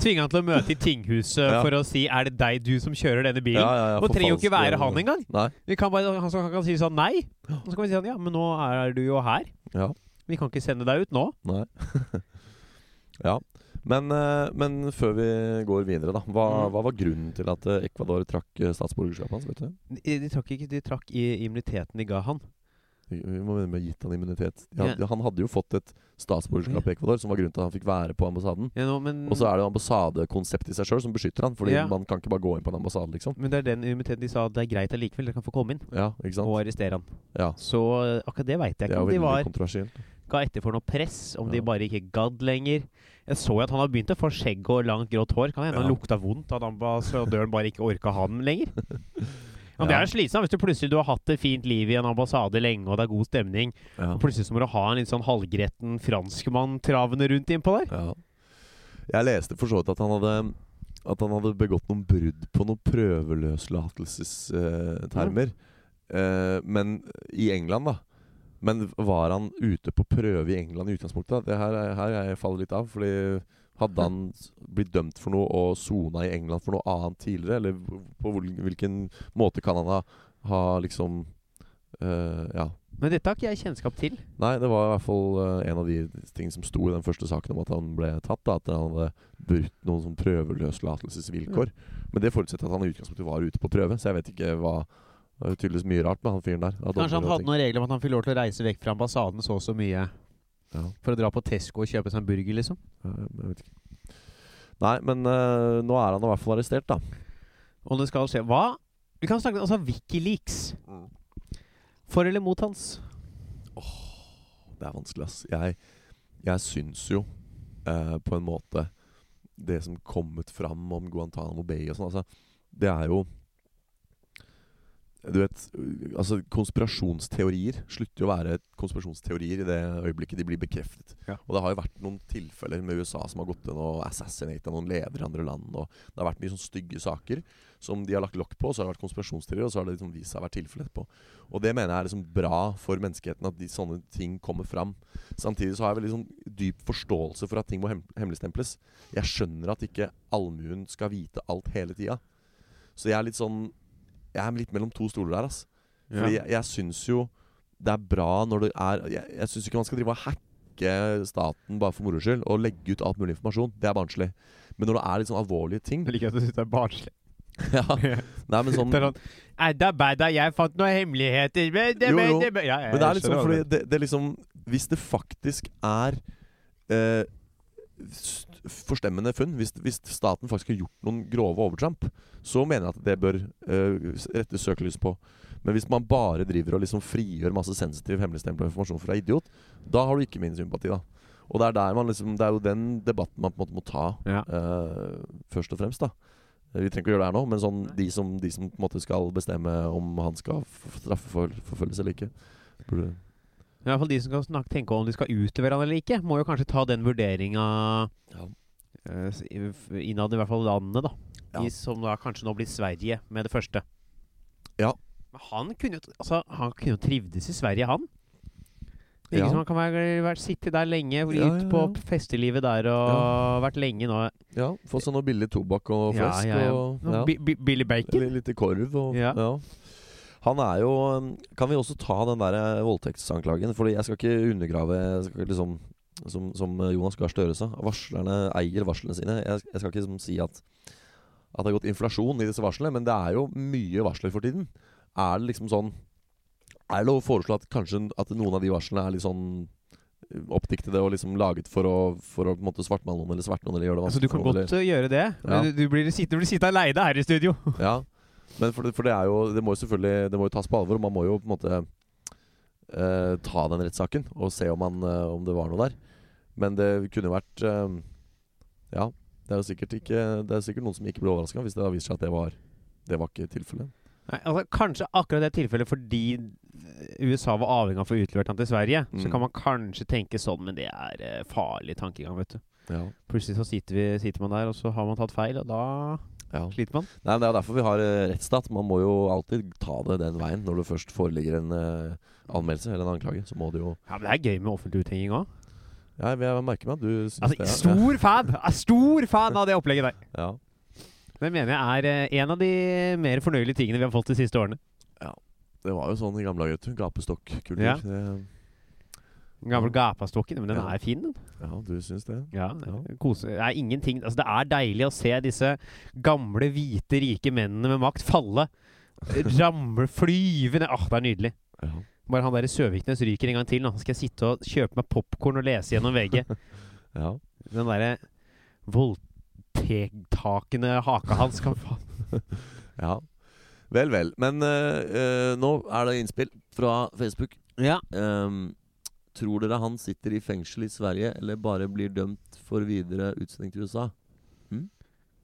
Tvinge han til å møte i tinghuset
Ja.
for å si 'er det deg, du, som kjører denne bilen'?
Ja, ja, ja,
og trenger jo ikke
forfalske-
være han engang.
Nei.
Vi kan bare, han skal, han kan si sånn nei. Og så kan vi si sånn ja, men nå er du jo her.
Ja.
Vi kan ikke sende deg ut nå.
Nei. ja. Men, eh, men før vi går videre, da. Hva,
Mm.
hva var grunnen til at eh, Ecuador trakk eh, statsborgerskapet hans? Vet du?
De, de trakk ikke, de trakk i immuniteten de ga han.
Vi vi må begynne med å ha gitt han immunitet. De had,
Ja.
Han hadde jo fått et statsborgerskap i Ecuador, som var grunnen til at han fikk være på ambassaden.
Ja, nå, men,
Og så er det jo ambassadekonseptet i seg sjøl som beskytter han, fordi
Ja.
man kan ikke bare gå inn på en ambassade, liksom.
men det er den immuniteten de sa det er greit allikevel, dere kan få komme inn
Ja, ikke sant?
og arrestere han.
Ja.
Så eh, akkurat det veit jeg
Det
ikke
er jo
om de
veldig
var,
kontroversielt.
ga etter for noe press, om de
Ja.
bare ikke gadd lenger. Jeg så jo at han har begynt å få skjegg og langt grått hår. Kan hende
Ja.
han lukta vondt, at ambassadøren bare ikke orka han lenger. Men Det
Ja.
er slitsomt hvis du plutselig du har hatt et fint liv i en ambassade lenge, og det er god stemning.
Ja.
Og Plutselig så må du ha en litt sånn halvgretten franskmann travende rundt innpå der.
Ja. Jeg leste for så vidt at han hadde At han hadde begått noen brudd på noen prøveløslatelsestemer. Eh, men i England, da. Men var han ute på prøve i England i utgangspunktet? da? Det her, er- her er jeg faller litt av. Fordi hadde han s- blitt dømt for noe og sona i England for noe annet tidligere? Eller på hvor- hvilken måte kan han ha, ha liksom eh, Ja.
Men dette har ikke jeg kjennskap til.
Nei, det var i hvert fall eh, en av de ting som sto i den første saken om at han ble tatt. Da, at han hadde brutt noen sånn prøveløslatelsesvilkår.
Mm.
Men det forutsetter at han i utgangspunktet var ute på prøve, så jeg vet ikke hva det er tydeligvis mye rart med han fyren der. av dommer
Kanskje han
og
hadde
ting.
noen regler om at han fikk lov til å reise vekk fra ambassaden så og så mye
Ja,
for å dra på Tesco og kjøpe seg en burger, liksom.
eh, jeg vet ikke. Nei, men eh, nå er han i hvert fall arrestert, da.
Og det skal skje Hva? Vi kan snakke altså Wikileaks. For eller mot hans?
Det er vanskelig, ass. Jeg, jeg syns jo eh, på en måte Det som kommet fram om Guantánamo Bay og sånn, altså, det er jo Du vet, altså konspirasjonsteorier slutter jo å være konspirasjonsteorier i det øyeblikket de blir bekreftet.
Ja.
Og det har jo vært noen tilfeller med USA som har gått inn og assassinata noen ledere i andre land. Og det har vært mye sånn stygge saker som de har lagt lokk på, og så har det vært konspirasjonsteorier, og så har det liksom vist seg å være tilfellet etterpå. Og det mener jeg er liksom bra for menneskeheten, at de, sånne ting kommer fram. Samtidig så har jeg veldig sånn dyp forståelse for at ting må hem hemmeligstemples. Jeg skjønner at ikke allmuen skal vite alt hele tida. Så jeg er litt sånn Jeg er litt mellom to stoler der, ass. Fordi jeg, jeg syns jo det er bra når det er Jeg, jeg syns ikke man skal drive og hacke staten bare for moro skyld og legge ut alt mulig informasjon. Det er barnslig. Men når det er litt sånn alvorlige ting
Jeg liker at du syns det er barnslig.
ja, Nei, men sånn
Det er sånn Edda badda, jeg fant noen hemmeligheter men det-
Jo,
men
jo.
det- men- Ja, ja,
Men det er
jeg
litt sånn
skjønner
fordi
hva
det, det er liksom Hvis det faktisk er eh, st- forstemmende funn, hvis, hvis staten faktisk har gjort noen grove overtramp, så mener jeg at det bør eh, s- rettes søkelys på. Men hvis man bare driver og liksom frigjør masse sensitiv, hemmeligstempla informasjon fra idiot, da har du ikke min sympati, da. Og det er, der man liksom, det er jo den debatten man på en måte må ta,
Ja.
eh, først og fremst, da. Eh, Vi trenger ikke å gjøre det her nå, men sånn, de, som, de som på en måte skal bestemme om han skal f- straffeforfølges eller ikke. Burde
Men i hvert fall de som kan snakke, tenke om de skal utlevere han eller ikke, må jo kanskje ta den vurderinga
Ja.
eh, s- i- f- innad i hvert fall landet, da.
Ja.
I, som da kanskje nå blir Sverige med det første.
Ja.
Men han kunne jo altså, han kunne jo trivdes i Sverige, han. Det er
Ja.
Ikke som han kan være, være, sitte der lenge, ut
Ja, ja,
på
ja.
festelivet der og vært lenge nå.
Ja, få seg noe billig tobakk og flesk.
ja, ja, ja.
Og,
Nå,
ja.
Bi- bi- Billy Bacon.
Eller Litt korv og ja.
Ja.
Han er jo um, eh, Kan vi også ta den der voldtektsanklagen? Fordi jeg skal ikke undergrave jeg skal ikke liksom som, som Jonas Gahr Støre sa, varslerne eier varslene sine. Jeg, jeg skal ikke liksom si at, at det har gått inflasjon i disse varslene, men det er jo mye varsler for tiden. Er det liksom sånn Er det lov å foreslå at kanskje at noen av de varslene er litt sånn eh, oppdiktede og liksom laget for å, for å på en måte svartmale noen eller sverte noen? Eller gjøre det
Altså, du
vanskelig for
kan
noen, eller-
godt eh, gjøre det, men
Ja.
du, du blir sittende, blir sittende aleine her i studio.
Ja, men for, det- for det er jo Det må jo selvfølgelig Det må jo tas på alvor. og Man må jo på en måte eh, ta den rettssaken og se om, man, eh, om det var noe der. Men det kunne jo vært eh, Ja, det er jo sikkert ikke Det er sikkert noen som ikke ble overraska hvis det da viser seg at det var Det var ikke tilfellet.
Nei, altså, kanskje akkurat det tilfellet fordi eh, USA var avhengig av å få utlevert han til Sverige, så
Mm.
kan man kanskje tenke sånn, men det er eh, farlig tankegang, vet du.
Ja.
Plutselig så sitter, vi, sitter man der, og så har man tatt feil, og da
ja.
sliter man.
Nei, men Det er jo derfor vi har eh, rettsstat. Man må jo alltid ta det den veien. Når det først foreligger en eh, anmeldelse eller en anklage, så må du jo
Ja, men det er gøy med offentlig uthenging òg.
Ja, jeg, jeg merker meg at du syns
Altså,
det. ja.
stor fan! Jeg er Stor fan av det opplegget der.
Ja.
Det mener jeg er eh, en av de mer fornøyelige tingene vi har fått de siste årene.
Det var jo sånn i gamle dager, vet du. Gapestokkultur.
Ja.
Det-
Den gamle gapastokken. Men den
Ja.
er fin, den.
Ja, du syns det?
Ja,
Ja.
kose. Det er ingenting Altså, det er deilig å se disse gamle, hvite, rike mennene med makt falle. Ramle, flyve ned. Åh, det er nydelig.
Ja.
Bare han der i Søviknes ryker en gang til. Nå skal jeg sitte og kjøpe meg popkorn og lese gjennom VG.
ja.
Den derre voldtektakende haka hans kan faen
Vel, vel. Men eh, eh, nå er det innspill fra Facebook.
Ja.
Ehm, tror dere han sitter i fengsel i Sverige, eller bare blir dømt for videre utsending til USA?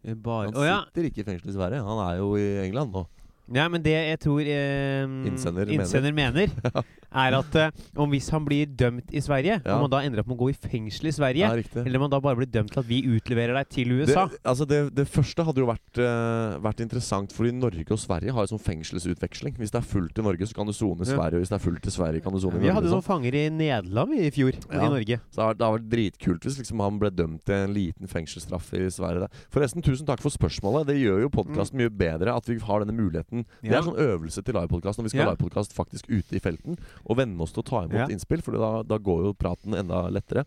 Bare
Han
Å ja.
sitter ikke i fengsel i Sverige, han er jo i England nå.
Ja, men det jeg tror eh,
Innsender mener.
innsender mener, er at eh, om hvis han blir dømt i Sverige,
Ja.
om han da ender opp med å gå i fengsel i Sverige,
Ja, riktig.
eller om han da bare blir dømt til at vi utleverer deg til
Det,
USA
altså det, det første hadde jo vært, eh, vært interessant, fordi Norge og Sverige har jo sånn fengselsutveksling. Hvis det er fullt i Norge, så kan du sone
Ja.
i Sverige. Og hvis det er fullt i Sverige, kan du sone i
Vi hadde
Norge.
noen
Sånn.
fanger i Nederland i fjor, og
Ja.
i Norge.
Så det har- det har vært dritkult hvis liksom han ble dømt til en liten fengselsstraff i Sverige. der. Forresten, tusen takk for spørsmålet. Det gjør jo podkasten mye bedre at vi har denne muligheten. Det
Mm. Ja.
er sånn øvelse til livepodkast når vi skal
Ja.
ha livepodkast faktisk ute i felten. Og venne oss til å ta imot
Ja.
innspill, for da, da går jo praten enda lettere.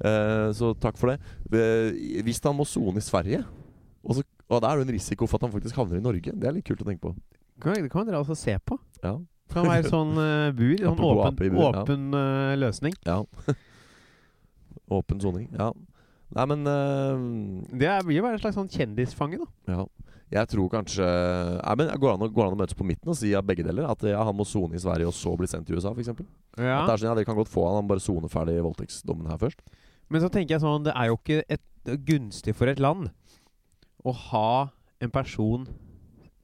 Eh, så takk for det. Eh, hvis han må sone i Sverige og, så, og da er det jo en risiko for at han faktisk havner i Norge. Det er litt kult å tenke på.
Kan- Det kan man dra og se på.
Ja.
Det kan være sånn eh, bur, sånn
Apropos
åpen,
ape i bur, ja.
åpen eh, løsning.
Åpen soning. Ja. Nei, men eh,
Det er- blir jo bare en slags sånn kjendisfange, da.
Ja. Jeg tror kanskje Nei, men Går det an, å- går det an å møtes på midten og si ja, begge deler? At ja, han må sone i Sverige og så bli sendt til USA, f.eks.? Ja.
Ja.
At det er sånn, ja, dere kan godt få han, han bare soner ferdig voldtektsdommen her først?
Men så tenker jeg sånn, det er jo ikke et, gunstig for et land å ha en person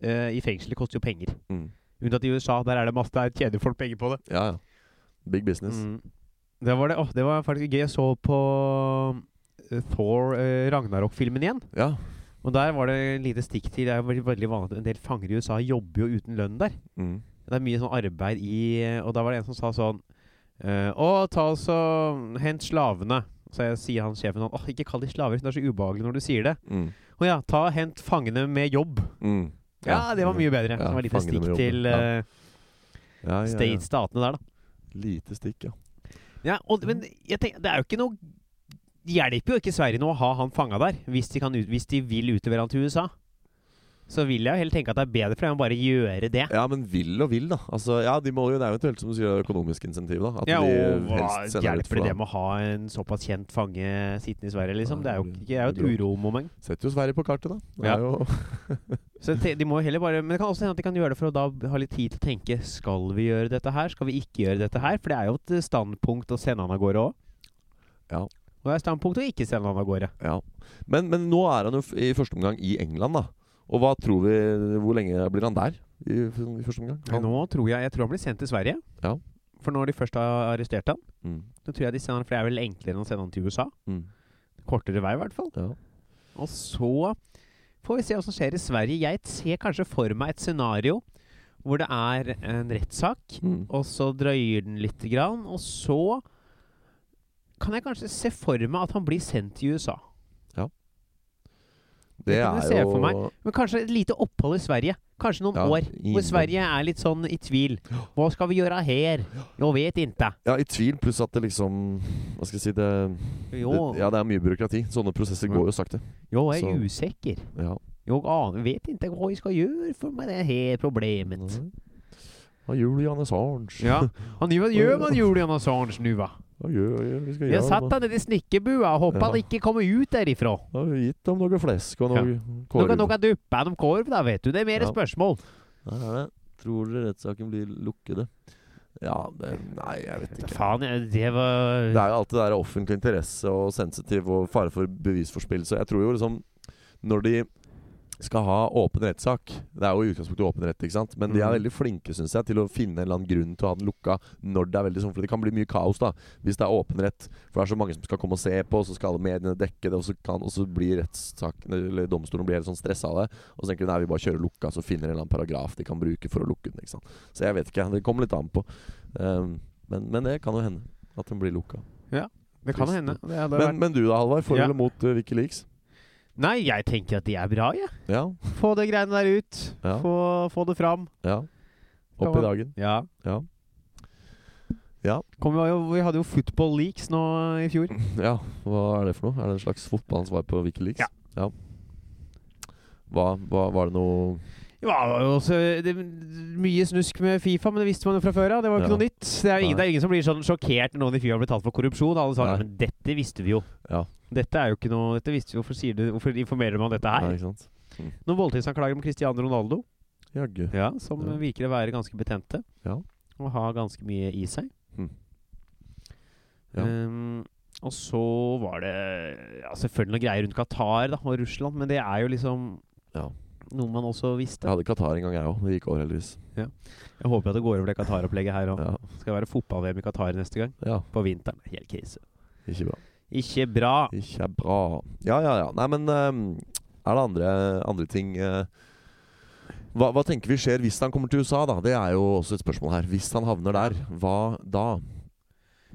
eh, i fengsel. Det koster jo penger.
Mm.
Unntatt i USA, der er det masse, der tjener folk penger på det.
Ja, ja. Big business.
Mm. Det var det, åh, det var faktisk gøy. Jeg så på eh, Thor eh, Ragnarok-filmen igjen.
Ja.
Og der var det et lite stikk til. Det er jo veldig, veldig vanlig at en del fanger i USA jobber jo uten lønn der.
Mm.
Det er mye sånn arbeid i Og da var det en som sa sånn eh, Å, ta og så hent slavene. Så jeg sier han sjefen sånn Åh, ikke kall de slaver. Det er så ubehagelig når du sier det.
Mm.
Å ja, ta og hent fangene med jobb.
Mm.
Ja, det var mye bedre.
Ja,
det var et lite
fangene
stikk
med jobb,
til
ja.
eh,
Ja, ja,
state- statene der, da.
ja. Lite stikk, ja.
Ja, og, men jeg tenker, det er jo ikke noe det hjelper jo ikke Sverige nå å ha han fanga der, hvis de, kan ut, hvis de vil utlevere han til USA. Så vil jeg jo heller tenke at det er bedre for dem å bare gjøre det.
Ja, men vil og vil, da. Altså, ja, de må jo, Det er jo eventuelt som du sier, økonomisk insentiv, da. At
ja,
de
og hva
helst sender ut
hjelper det
for da-
det med å ha en såpass kjent fange sittende i Sverige, liksom? Det er jo,
Nei, det
ikke,
blir-
det er jo
det blir
et uromoment.
Setter jo Sverige på kartet, da. Det
Ja.
er jo
Så te- de må jo heller bare Men det kan også hende at de kan gjøre det for å da ha litt tid til å tenke Skal vi gjøre dette her? Skal vi ikke gjøre dette her? For det er jo et standpunkt å sende han av gårde òg.
Ja.
Og det er et standpunkt å ikke sende han av gårde.
Ja. Men, men nå er han jo f- i første omgang i England, da. Og hva tror vi Hvor lenge blir han der i, f- i første omgang? Han-
Nå tror jeg Jeg tror han blir sendt til Sverige.
Ja.
For når de først har arrestert han,
Mm.
så tror jeg de sender han For det er vel enklere enn å sende han til USA.
Mm.
Kortere vei, i hvert fall.
Ja.
Og så får vi se hva som skjer i Sverige. Jeg ser kanskje for meg et scenario hvor det er en rettssak,
Mm.
og så drøyer den litt, grann, og så kan jeg kanskje se for meg at han blir sendt til USA.
Det
kan jeg
er
se
jo
for meg. Men kanskje et lite opphold i Sverige. kanskje noen
Ja,
år,
ingen-
hvor Sverige er litt sånn i tvil. Hva skal vi gjøre her? Jo, vet ikke.
Ja, i tvil, pluss at det liksom Hva skal jeg si det, det
Jo,
Ja, det er mye byråkrati. Sånne prosesser går jo sakte.
jo jeg
så-
er usikker.
Ja.
Jeg aner, vet ikke hva jeg skal gjøre for meg det her
Mm.
problemet.
Hva gjør du, Janne Sarnes?
Ja, han gjør, gjør man Julian Assange nå, hva?
Hva gjør, hva gjør vi skal
Jeg
gjøre?
satt
da?
han nede i snikkebua og håpet han
Ja.
ikke kom ut derifra.
Da har vi gitt dem noe flesk og noe
Nå
kårhud.
kan dere duppe han om korv, da, vet du. Det er mer
Ja.
spørsmål.
Der er det. Tror dere rettssaken blir lukkede? Ja, det, nei, jeg vet ikke.
Faen, jeg- det var
Det er jo alltid det der offentlig interesse og sensitiv og fare for bevisforspillelse. Jeg tror jo liksom Når de skal ha åpen rettssak Det er jo i utgangspunktet åpen rett, ikke sant? Men de er
Mhm.
veldig flinke, syns jeg, til å finne en eller annen grunn til å ha den lukka når det er veldig sånn. For det kan bli mye kaos, da, hvis det er åpen rett. For det er så mange som skal komme og se på, og så skal alle mediene dekke det, og så, kan, og så blir rettssaken Eller domstolen blir helt sånn stressa av det. Og så tenker de nei, vi bare kjører lukka, så finner de en eller annen paragraf de kan bruke for å lukke den. ikke sant? Så jeg vet ikke. Det kommer litt an på. Um, men, men det kan jo hende at den blir lukka.
Det kan hende. Det hadde vært.
Men, men du da, Halvard? For
Ja.
eller mot eh, Wikileaks?
Nei, jeg tenker at de er bra, jeg.
Ja.
Få det greiene der ut.
Ja.
Få, få det fram.
ja. Opp
Kan man-
i dagen.
Ja.
Ja. Ja.
Kom, vi, var jo, vi hadde jo football leaks nå i fjor.
ja. Hva er det for noe? Er det en slags fotballens svar på Wikileaks?
Ja.
Hva, hva Var det noe
Det var jo også det, mye snusk med Fifa, men det visste man jo fra før av. Det var jo ikke
Ja.
noe nytt. Det er, jo ingen,
Nei.
det er ingen som blir sånn sjokkert når noen i Fifa blir talt for korrupsjon. Alle sa
Nei.
"Ja, men dette visste vi jo.
Ja.
Dette er jo ikke noe Dette visste vi jo. Hvorfor, sier du, hvorfor informerer man om dette
Nei,
her?
ikke sant?
Noen voldtektsanklager om Cristiano Ronaldo,
Jaggu.
ja, som
Ja.
virker å være ganske betente.
Ja.
Og ha ganske mye i seg.
Mhm. Ja.
Ehm, og så var det ja, selvfølgelig noe greier rundt Qatar da, og Russland, men det er jo liksom
Ja.
noe man også visste.
Jeg hadde Qatar en gang, jeg òg. Det gikk over, heldigvis.
Jeg håper at det går over det Qatar-opplegget her òg.
Ja.
Skal være fotball-VM i Qatar neste gang.
ja.
På vinteren. Helt krise.
Ikke bra.
Ikke bra.
Ikke bra. Ja, ja, ja. Nei, men ehm, er det andre, andre ting eh, hva, hva tenker vi skjer hvis han kommer til USA, da? Det er jo også et spørsmål her. Hvis han havner der, hva da?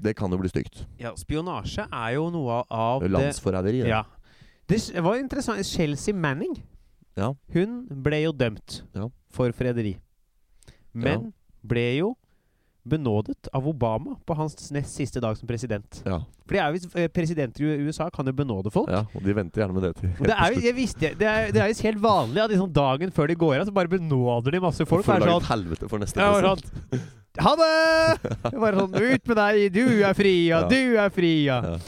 Det kan jo bli stygt.
Ja, spionasje er jo noe av det
Landsforræderi. det.
Ja. Det s- var interessant. Chelsea Manning
Ja.
Hun ble jo dømt
Ja.
for forræderi. Men ble jo benådet av Obama på hans nest siste dag som president.
Ja.
For det er jo hvis eh, presidenter i USA kan jo benåde folk.
ja. Og de venter gjerne med det til
Og det er jo jeg visste, det er, det er jo helt vanlig at liksom dagen før de går av, så bare benåder de masse folk.
For å
Det er
lage
sånn,
et helvete for neste
Jeg var
president.
sånn Ha det! Jeg var sånn Ut med deg! Du er fri, ja!
Ja.
Du er fri, ja!
Ja.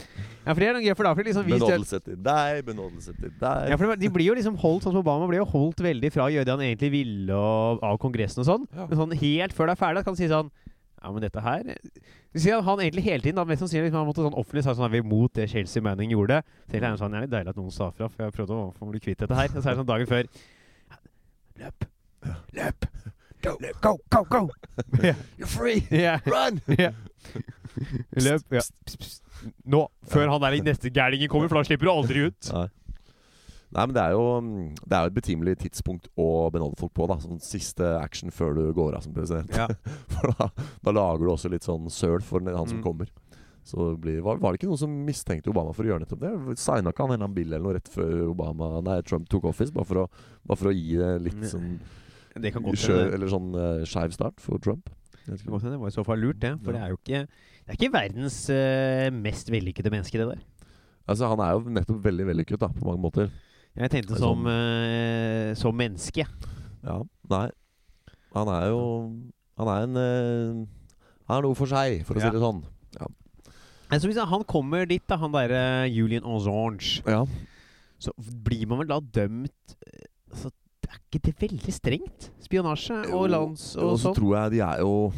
Ja, for det er noe gøy, for da får de liksom vist det.
Benådelse til deg, benådelse til deg.
Ja, for det- De blir jo liksom holdt sånn som Obama ble jo holdt veldig fra å gjøre det han egentlig ville og, av Kongressen og sånn.
Ja.
Men sånn helt før det er ferdig, kan du si sånn Ja, men dette her Du sier at han egentlig hele tiden da, mest sannsynlig liksom, han måtte sånn offentlig sagt sånn, er vi imot det Chelsea Manning gjorde. Så egentlig er det sånn, det er litt deilig at noen sa fra, for jeg prøvde å få bli kvitt dette her. Og så er det sånn dagen før Løp! Løp! Go, go, go! go. Ja.
You're free!
Ja.
Run!
Ja. Løp. Ja. Nå, før han der neste gærningen kommer, for da slipper du aldri ut.
Nei. Nei, men det er jo mm, Det er jo et betimelig tidspunkt å benåde folk på. da Sånn siste action før du går av som president.
Ja.
For da, da lager du også litt sånn søl for den- han som
Mm.
kommer. Så det blir, var, var det ikke noen som mistenkte Obama for å gjøre nettopp det? Signa ikke han en eller annen bill eller noe rett før Obama Nei, Trump tok office? Bare for å, bare for å gi det litt
Nei.
sånn
Det Mm, kan godt
skjø-
hende.
Eller sånn eh, skeiv start for Trump. Jeg vet
Det kan
ikke.
godt hende. Det var i så fall lurt, det. For
Ja.
det er jo ikke Det er ikke verdens eh, mest vellykkede menneske, det der.
Altså, han er jo nettopp veldig vellykket da, på mange måter.
Jeg tenkte
Det er
som, eh, som menneske.
Ja, nei. Han er jo Han er en eh, Han er noe for seg, for å
Ja.
si det sånn.
Altså, hvis han kommer dit, da, han derre eh, Julian Assange,
Ja.
så blir man vel da dømt eh, altså, det er ikke det veldig strengt? Spionasje og
Jo,
lands og
Og så
sånn?
tror jeg de er jo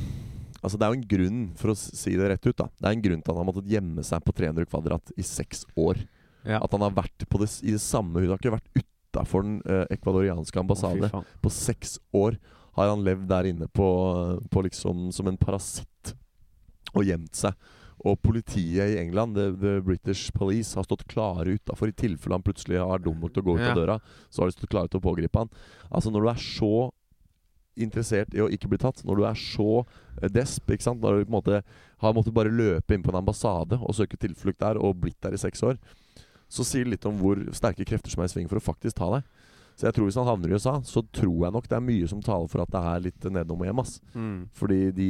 Altså Det er jo en grunn, for å s- si det rett ut, da Det er en grunn til at han har måttet gjemme seg på 300 kvadrat i seks år.
Ja.
At han har vært på det, s- i det samme huset. Han har ikke vært utafor den eh, ekvadorianske
Å,
ambassade
fy faen.
på seks år. Har han levd der inne på, på liksom som en parasitt og gjemt seg. Og politiet i England, the, the British Police, har stått klare utafor. I tilfelle han plutselig har dum nok til å gå ut
Ja.
av døra, så har de stått klare til å pågripe han. Altså Når du er så interessert i å ikke bli tatt, når du er så eh, desp ikke sant? Når du på en måte har måttet bare løpe inn på en ambassade og søke tilflukt der, og blitt der i seks år, så sier det litt om hvor sterke krefter som er i sving for å faktisk ta deg. Så jeg tror hvis han havner i USA, så tror jeg nok det er mye som taler for at det er litt nedom og hjem. ass.
Mm.
Fordi de,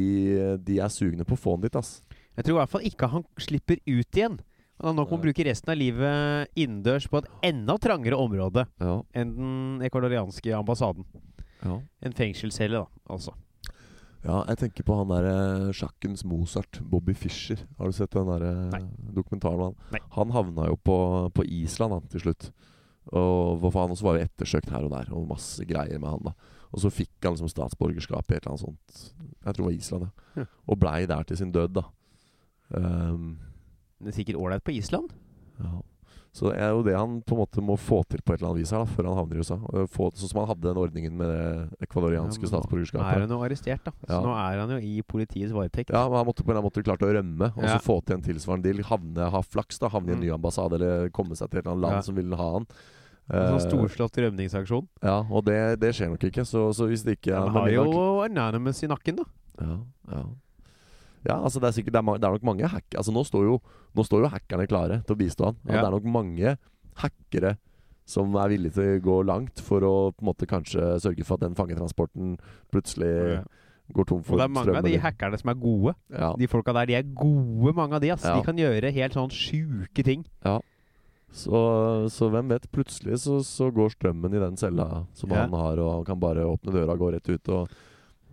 de er sugne på å få han dit, ass.
Jeg tror i hvert fall ikke han slipper ut igjen. Han har nok med å
Nei.
bruke resten av livet innendørs på et enda trangere område
Ja,
enn den ecuadorianske ambassaden.
ja.
En fengselscelle, da, altså.
Ja, jeg tenker på han derre sjakkens Mozart, Bobby Fischer. Har du sett den derre
Nei.
dokumentaren om han?
Nei.
Han havna jo på, på Island han, til slutt. Og hva faen, og så var jo ettersøkt her og der, og masse greier med han, da. Og så fikk han liksom statsborgerskap i et eller annet sånt. Jeg tror det var Island, ja.
Ja.
Og blei der til sin død, da. Ehm,
Det er sikkert ålreit på Island.
ja. Så det er jo det han på en måte må få til på et eller annet vis her, da, før han havner i USA. Og Få, sånn som han hadde den ordningen med det
Ja,
ekvadorianske
men nå Nå
statsborgerskapet.
er han jo arrestert, da. Så
Ja.
nå er han jo i politiets varetekt.
Ja, men han måtte på en eller annen måte klart å rømme og
Ja. Mm.
så få til en tilsvarende deal. Havne, ha flaks, da, havne i en ny ambassade eller komme seg til et eller annet land
Ja.
som vil ha han.
En sånn
Eh,
storslått rømningsaksjon.
ja, og det, det skjer nok ikke. Så, så hvis det ikke
Han
men
har
det
jo
er nok-
Anonymous i nakken, da.
ja, ja. ja, altså det er sikkert Det er, ma- det er nok mange hack... Altså nå står, jo, nå står jo hackerne klare til å bistå han. Og
Ja.
Det er nok mange hackere som er villige til å gå langt for å på en måte kanskje sørge for at den fangetransporten plutselig går tom
Og
for
det er mange av de
eller-
hackerne som er gode.
ja.
De folka der, de er gode, mange av de. ass.
Ja.
De kan gjøre helt sånn sjuke ting.
Så, så hvem vet, plutselig så, så går strømmen i den cella som
Ja.
han har, og han kan bare åpne døra og gå rett ut, og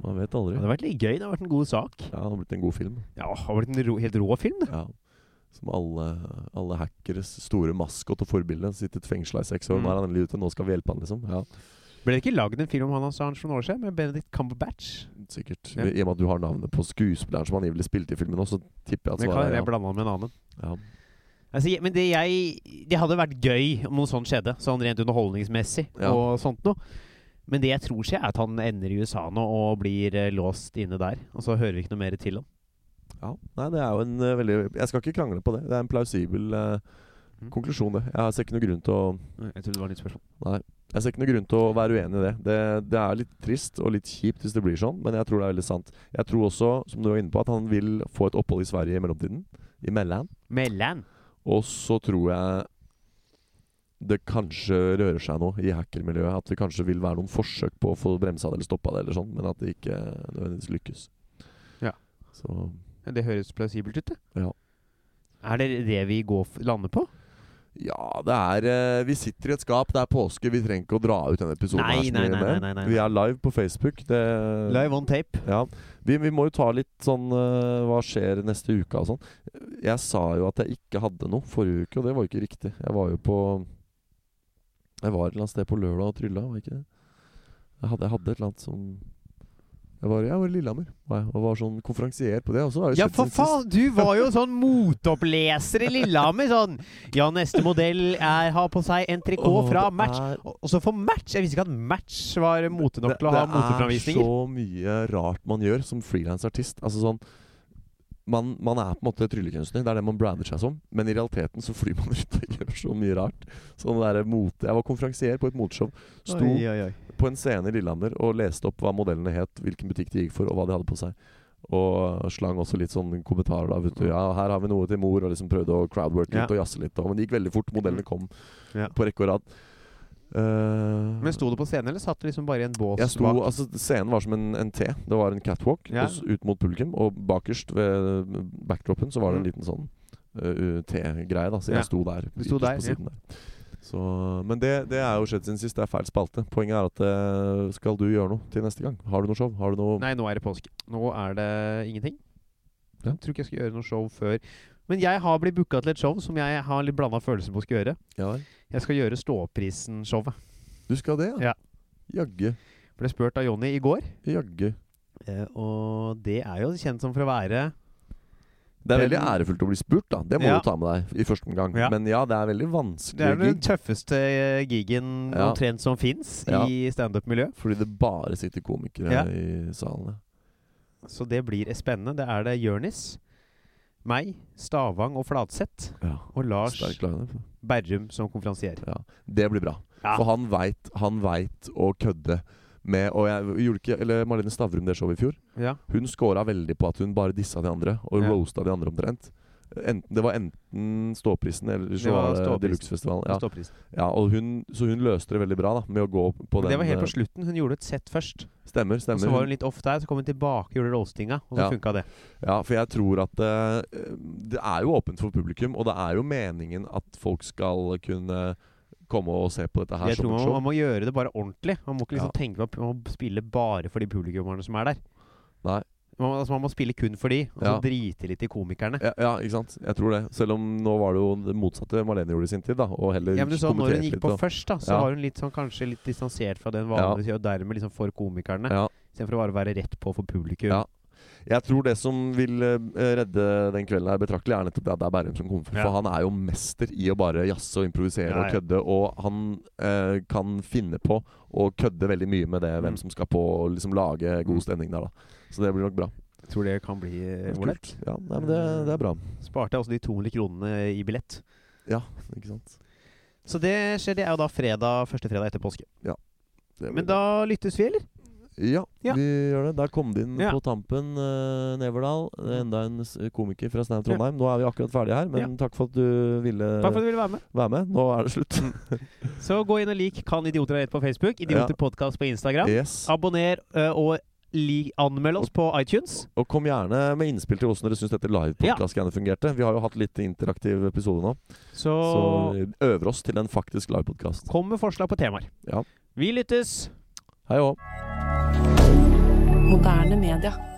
man vet
Det
aldri.
hadde vært litt gøy. Det hadde vært en god sak.
Ja, det har blitt en god film.
Ja, det hadde vært en ro, helt rå film, det.
Ja. Som alle, alle hackeres store maskot og forbilde. Sittet fengsla i seks år,
Mm.
nå er han endelig ute, nå skal vi hjelpe han, liksom. Ja,
Ble det ikke lagd en film om han Assange for noen år siden, med Benedict Cumberbatch?
sikkert.
Ja.
I og med at du har navnet på skuespilleren som angivelig spilte i filmen også, så tipper
Men
jeg at
jeg kan
svaret
jeg
er ja.
blande han med en annen.
ja.
Altså, jeg- men det jeg Det hadde vært gøy om noe sånt skjedde, sånn rent underholdningsmessig
Ja.
og sånt noe. Men det jeg tror skjer, er at han ender i USA nå og blir eh, låst inne der. Og så hører vi ikke noe mer til ham.
ja. Nei, det er jo en eh, veldig Jeg skal ikke krangle på det. Det er en plausibel eh,
Mm.
konklusjon, det. Jeg ser ikke noen grunn til å
Jeg tror det var nytt spørsmål.
Jeg ser ikke noen grunn til å være uenig i det. det. Det er litt trist og litt kjipt hvis det blir sånn, men jeg tror det er veldig sant. Jeg tror også, som du var inne på, at han vil få et opphold i Sverige i mellomtiden. I Mellan.
Mellan.
Og så tror jeg det kanskje rører seg noe i hackermiljøet. At det kanskje vil være noen forsøk på å få bremsa det eller stoppa det, eller sånn, men at det ikke nødvendigvis lykkes.
Ja.
Så
Det høres plausibelt ut, det.
Ja.
Er det det vi går f lander på?
Ja, det er eh, Vi sitter i et skap. Det er påske. Vi trenger ikke å dra ut denne episoden.
Nei,
her så
nei,
mye
nei, nei,
mer.
nei, nei,
Vi er live på Facebook. Det,
Live on tape.
Ja, vi, vi må jo ta litt sånn eh, Hva skjer neste uke og sånn. Jeg sa jo at jeg ikke hadde noe forrige uke, og det var jo ikke riktig. Jeg var jo på Jeg var et eller annet sted på lørdag og trylla, var jeg ikke det? Jeg hadde, jeg hadde et eller annet som Jeg var, jeg var i Lillehammer var jeg, og var sånn konferansier på det. Og så har jeg
Ja,
sett
for
siden sist.
faen! Du var jo sånn motoppleser i Lillehammer. Sånn Ja, neste modell er, har på seg en
Åh,
trikot fra
det
Match.
er-
Og og så for Match! Jeg visste ikke at Match var mote nok til å ha
Det
moteframvisninger.
er så mye rart man gjør som frilansartist. Altså sånn man, man er på en måte tryllekunstner, det er det man brander seg som. Men i realiteten så flyr man rundt og gjør så mye rart. Sånn der mote Jeg var konferansier på et moteshow. Sto
Oi, oi, oi.
på en scene i Lillehammer og leste opp hva modellene het, hvilken butikk de gikk for, og hva de hadde på seg. Og slang også litt sånne kommentarer da. Vet du, ja, her har vi noe til mor, og liksom prøvde å crowdworke
Ja.
litt og jazze litt. Og, men det gikk veldig fort. Modellene kom
Ja.
på rekke og rad. Eh,
Men sto du på scenen, eller satt du liksom bare i en bås
jeg sto,
bak?
altså Scenen var som en, en T. Det var en catwalk
Ja.
og s- ut mot publikum. Og bakerst ved backdropen så var det en
Mm.
liten sånn uh, uh, T-greie, da. Så
Ja.
jeg sto der.
Du sto
ytterst
der,
på
ja.
siden der. Så, men det, det er jo skjedd siden sist. Det er feil spalte. Poenget er at eh, skal du gjøre noe til neste gang? Har du noe show? Har du noe
Nei, nå er det påske. Nå er det ingenting.
Ja.
Jeg tror ikke jeg skal gjøre noe show før. Men jeg har blitt booka til et show som jeg har litt blanda følelser på å skal gjøre.
Ja vel.
Jeg skal gjøre Ståprisen-showet.
Du skal det,
Ja.
Jagge.
Ble spurt av Jonny i går,
Jagge.
eh, og det er jo kjent som for å være
Det er
Den-
veldig ærefullt å bli spurt, da. Det må
Ja.
du ta med deg i første omgang.
Ja.
Men ja, det er veldig
Det
vanskelig
er den
gig.
tøffeste eh, gigen
Ja.
omtrent som fins
Ja.
i standup-miljø.
Fordi det bare sitter komikere
Ja.
i salene.
Så det blir spennende. Det er det Jørnis, meg, Stavang og Fladseth
Ja.
og Lars
Sterk lineup.
Berrum som konferansier.
Ja. Det blir bra.
Ja.
For han veit han veit å kødde med Og jeg gjorde ikke Eller Marlene Stavrum det showet i fjor.
Ja.
Hun scora veldig på at hun bare dissa de andre, og
Ja.
roasta de andre omtrent. Enten, det var enten Ståprisen eller
Det
så
var
var det
Ståprisen.
Deluxe-festivalen. Ja.
Ståprisen.
Ja, og hun, så hun løste det veldig bra da med å gå på den.
det var helt på
eh,
slutten. Hun gjorde et sett først.
Stemmer.
Og
stemmer
så var hun litt off der, så kom hun tilbake og gjorde rollstinga, og så
Ja.
funka det.
Ja, For jeg tror at eh, det er jo åpent for publikum, og det er jo meningen at folk skal kunne komme og se på dette her
Jeg tror
som et
man,
show.
man må gjøre det bare ordentlig. Man må ikke liksom
Ja.
tenke på at man må spille bare for de publikummerne som er der.
Nei.
Man, altså, man må spille kun for de, og så
Ja.
drite litt i komikerne.
Ja, ja, ikke sant? Jeg tror det. Selv om nå var det jo det motsatte Marlene gjorde i sin tid. da Og heller
Ja, men du sa Når hun
kommenterte
gikk
litt.
på
og-
først, da, så
Ja.
var hun litt sånn, kanskje litt distansert fra den vanligvis gjør, og dermed liksom for komikerne.
ja.
Istedenfor å bare være rett på for publikum.
Ja. Jeg tror det som vil eh, redde den kvelden her betraktelig, er nettopp det at det er Bærum som kommer. For
Ja.
han er jo mester i å bare jazze og improvisere
Ja,
og
ja.
kødde. Og han eh, kan finne på å kødde veldig mye med det, hvem
Mm.
som skal på, og liksom lage god stemning der, da. Så det blir nok bra.
Jeg tror det kan bli eh, ålreit.
Kult. Ja, nei, men det, det er bra.
Sparte jeg også de 200 kronene i billett.
Ja, ikke sant.
Så det skjer. Det er jo da fredag, første fredag etter påske.
Det blir
Men da lyttes vi, eller?
Ja,
Ja.
vi gjør det. Der kom det inn
Ja.
på tampen, eh, Neverdal. Enda en s- komiker fra Snau Trondheim. Nå er vi akkurat ferdige her, men takk for at du ville
Takk for at du ville være med.
være med. Nå er det slutt.
Så gå inn og lik Kan idioter ha rett på Facebook. Idioter podcast på Instagram.
Yes.
Abonner ø, og li anmeld oss på iTunes.
Og kom gjerne med innspill til hvordan dere syns dette live-podkast-greiene fungerte. Vi har jo hatt litt interaktiv episode nå,
Så
så vi øver oss til en faktisk live-podkast.
kom med forslag på temaer.
Ja.
Vi lyttes!
Hei og hå.
Moderne media.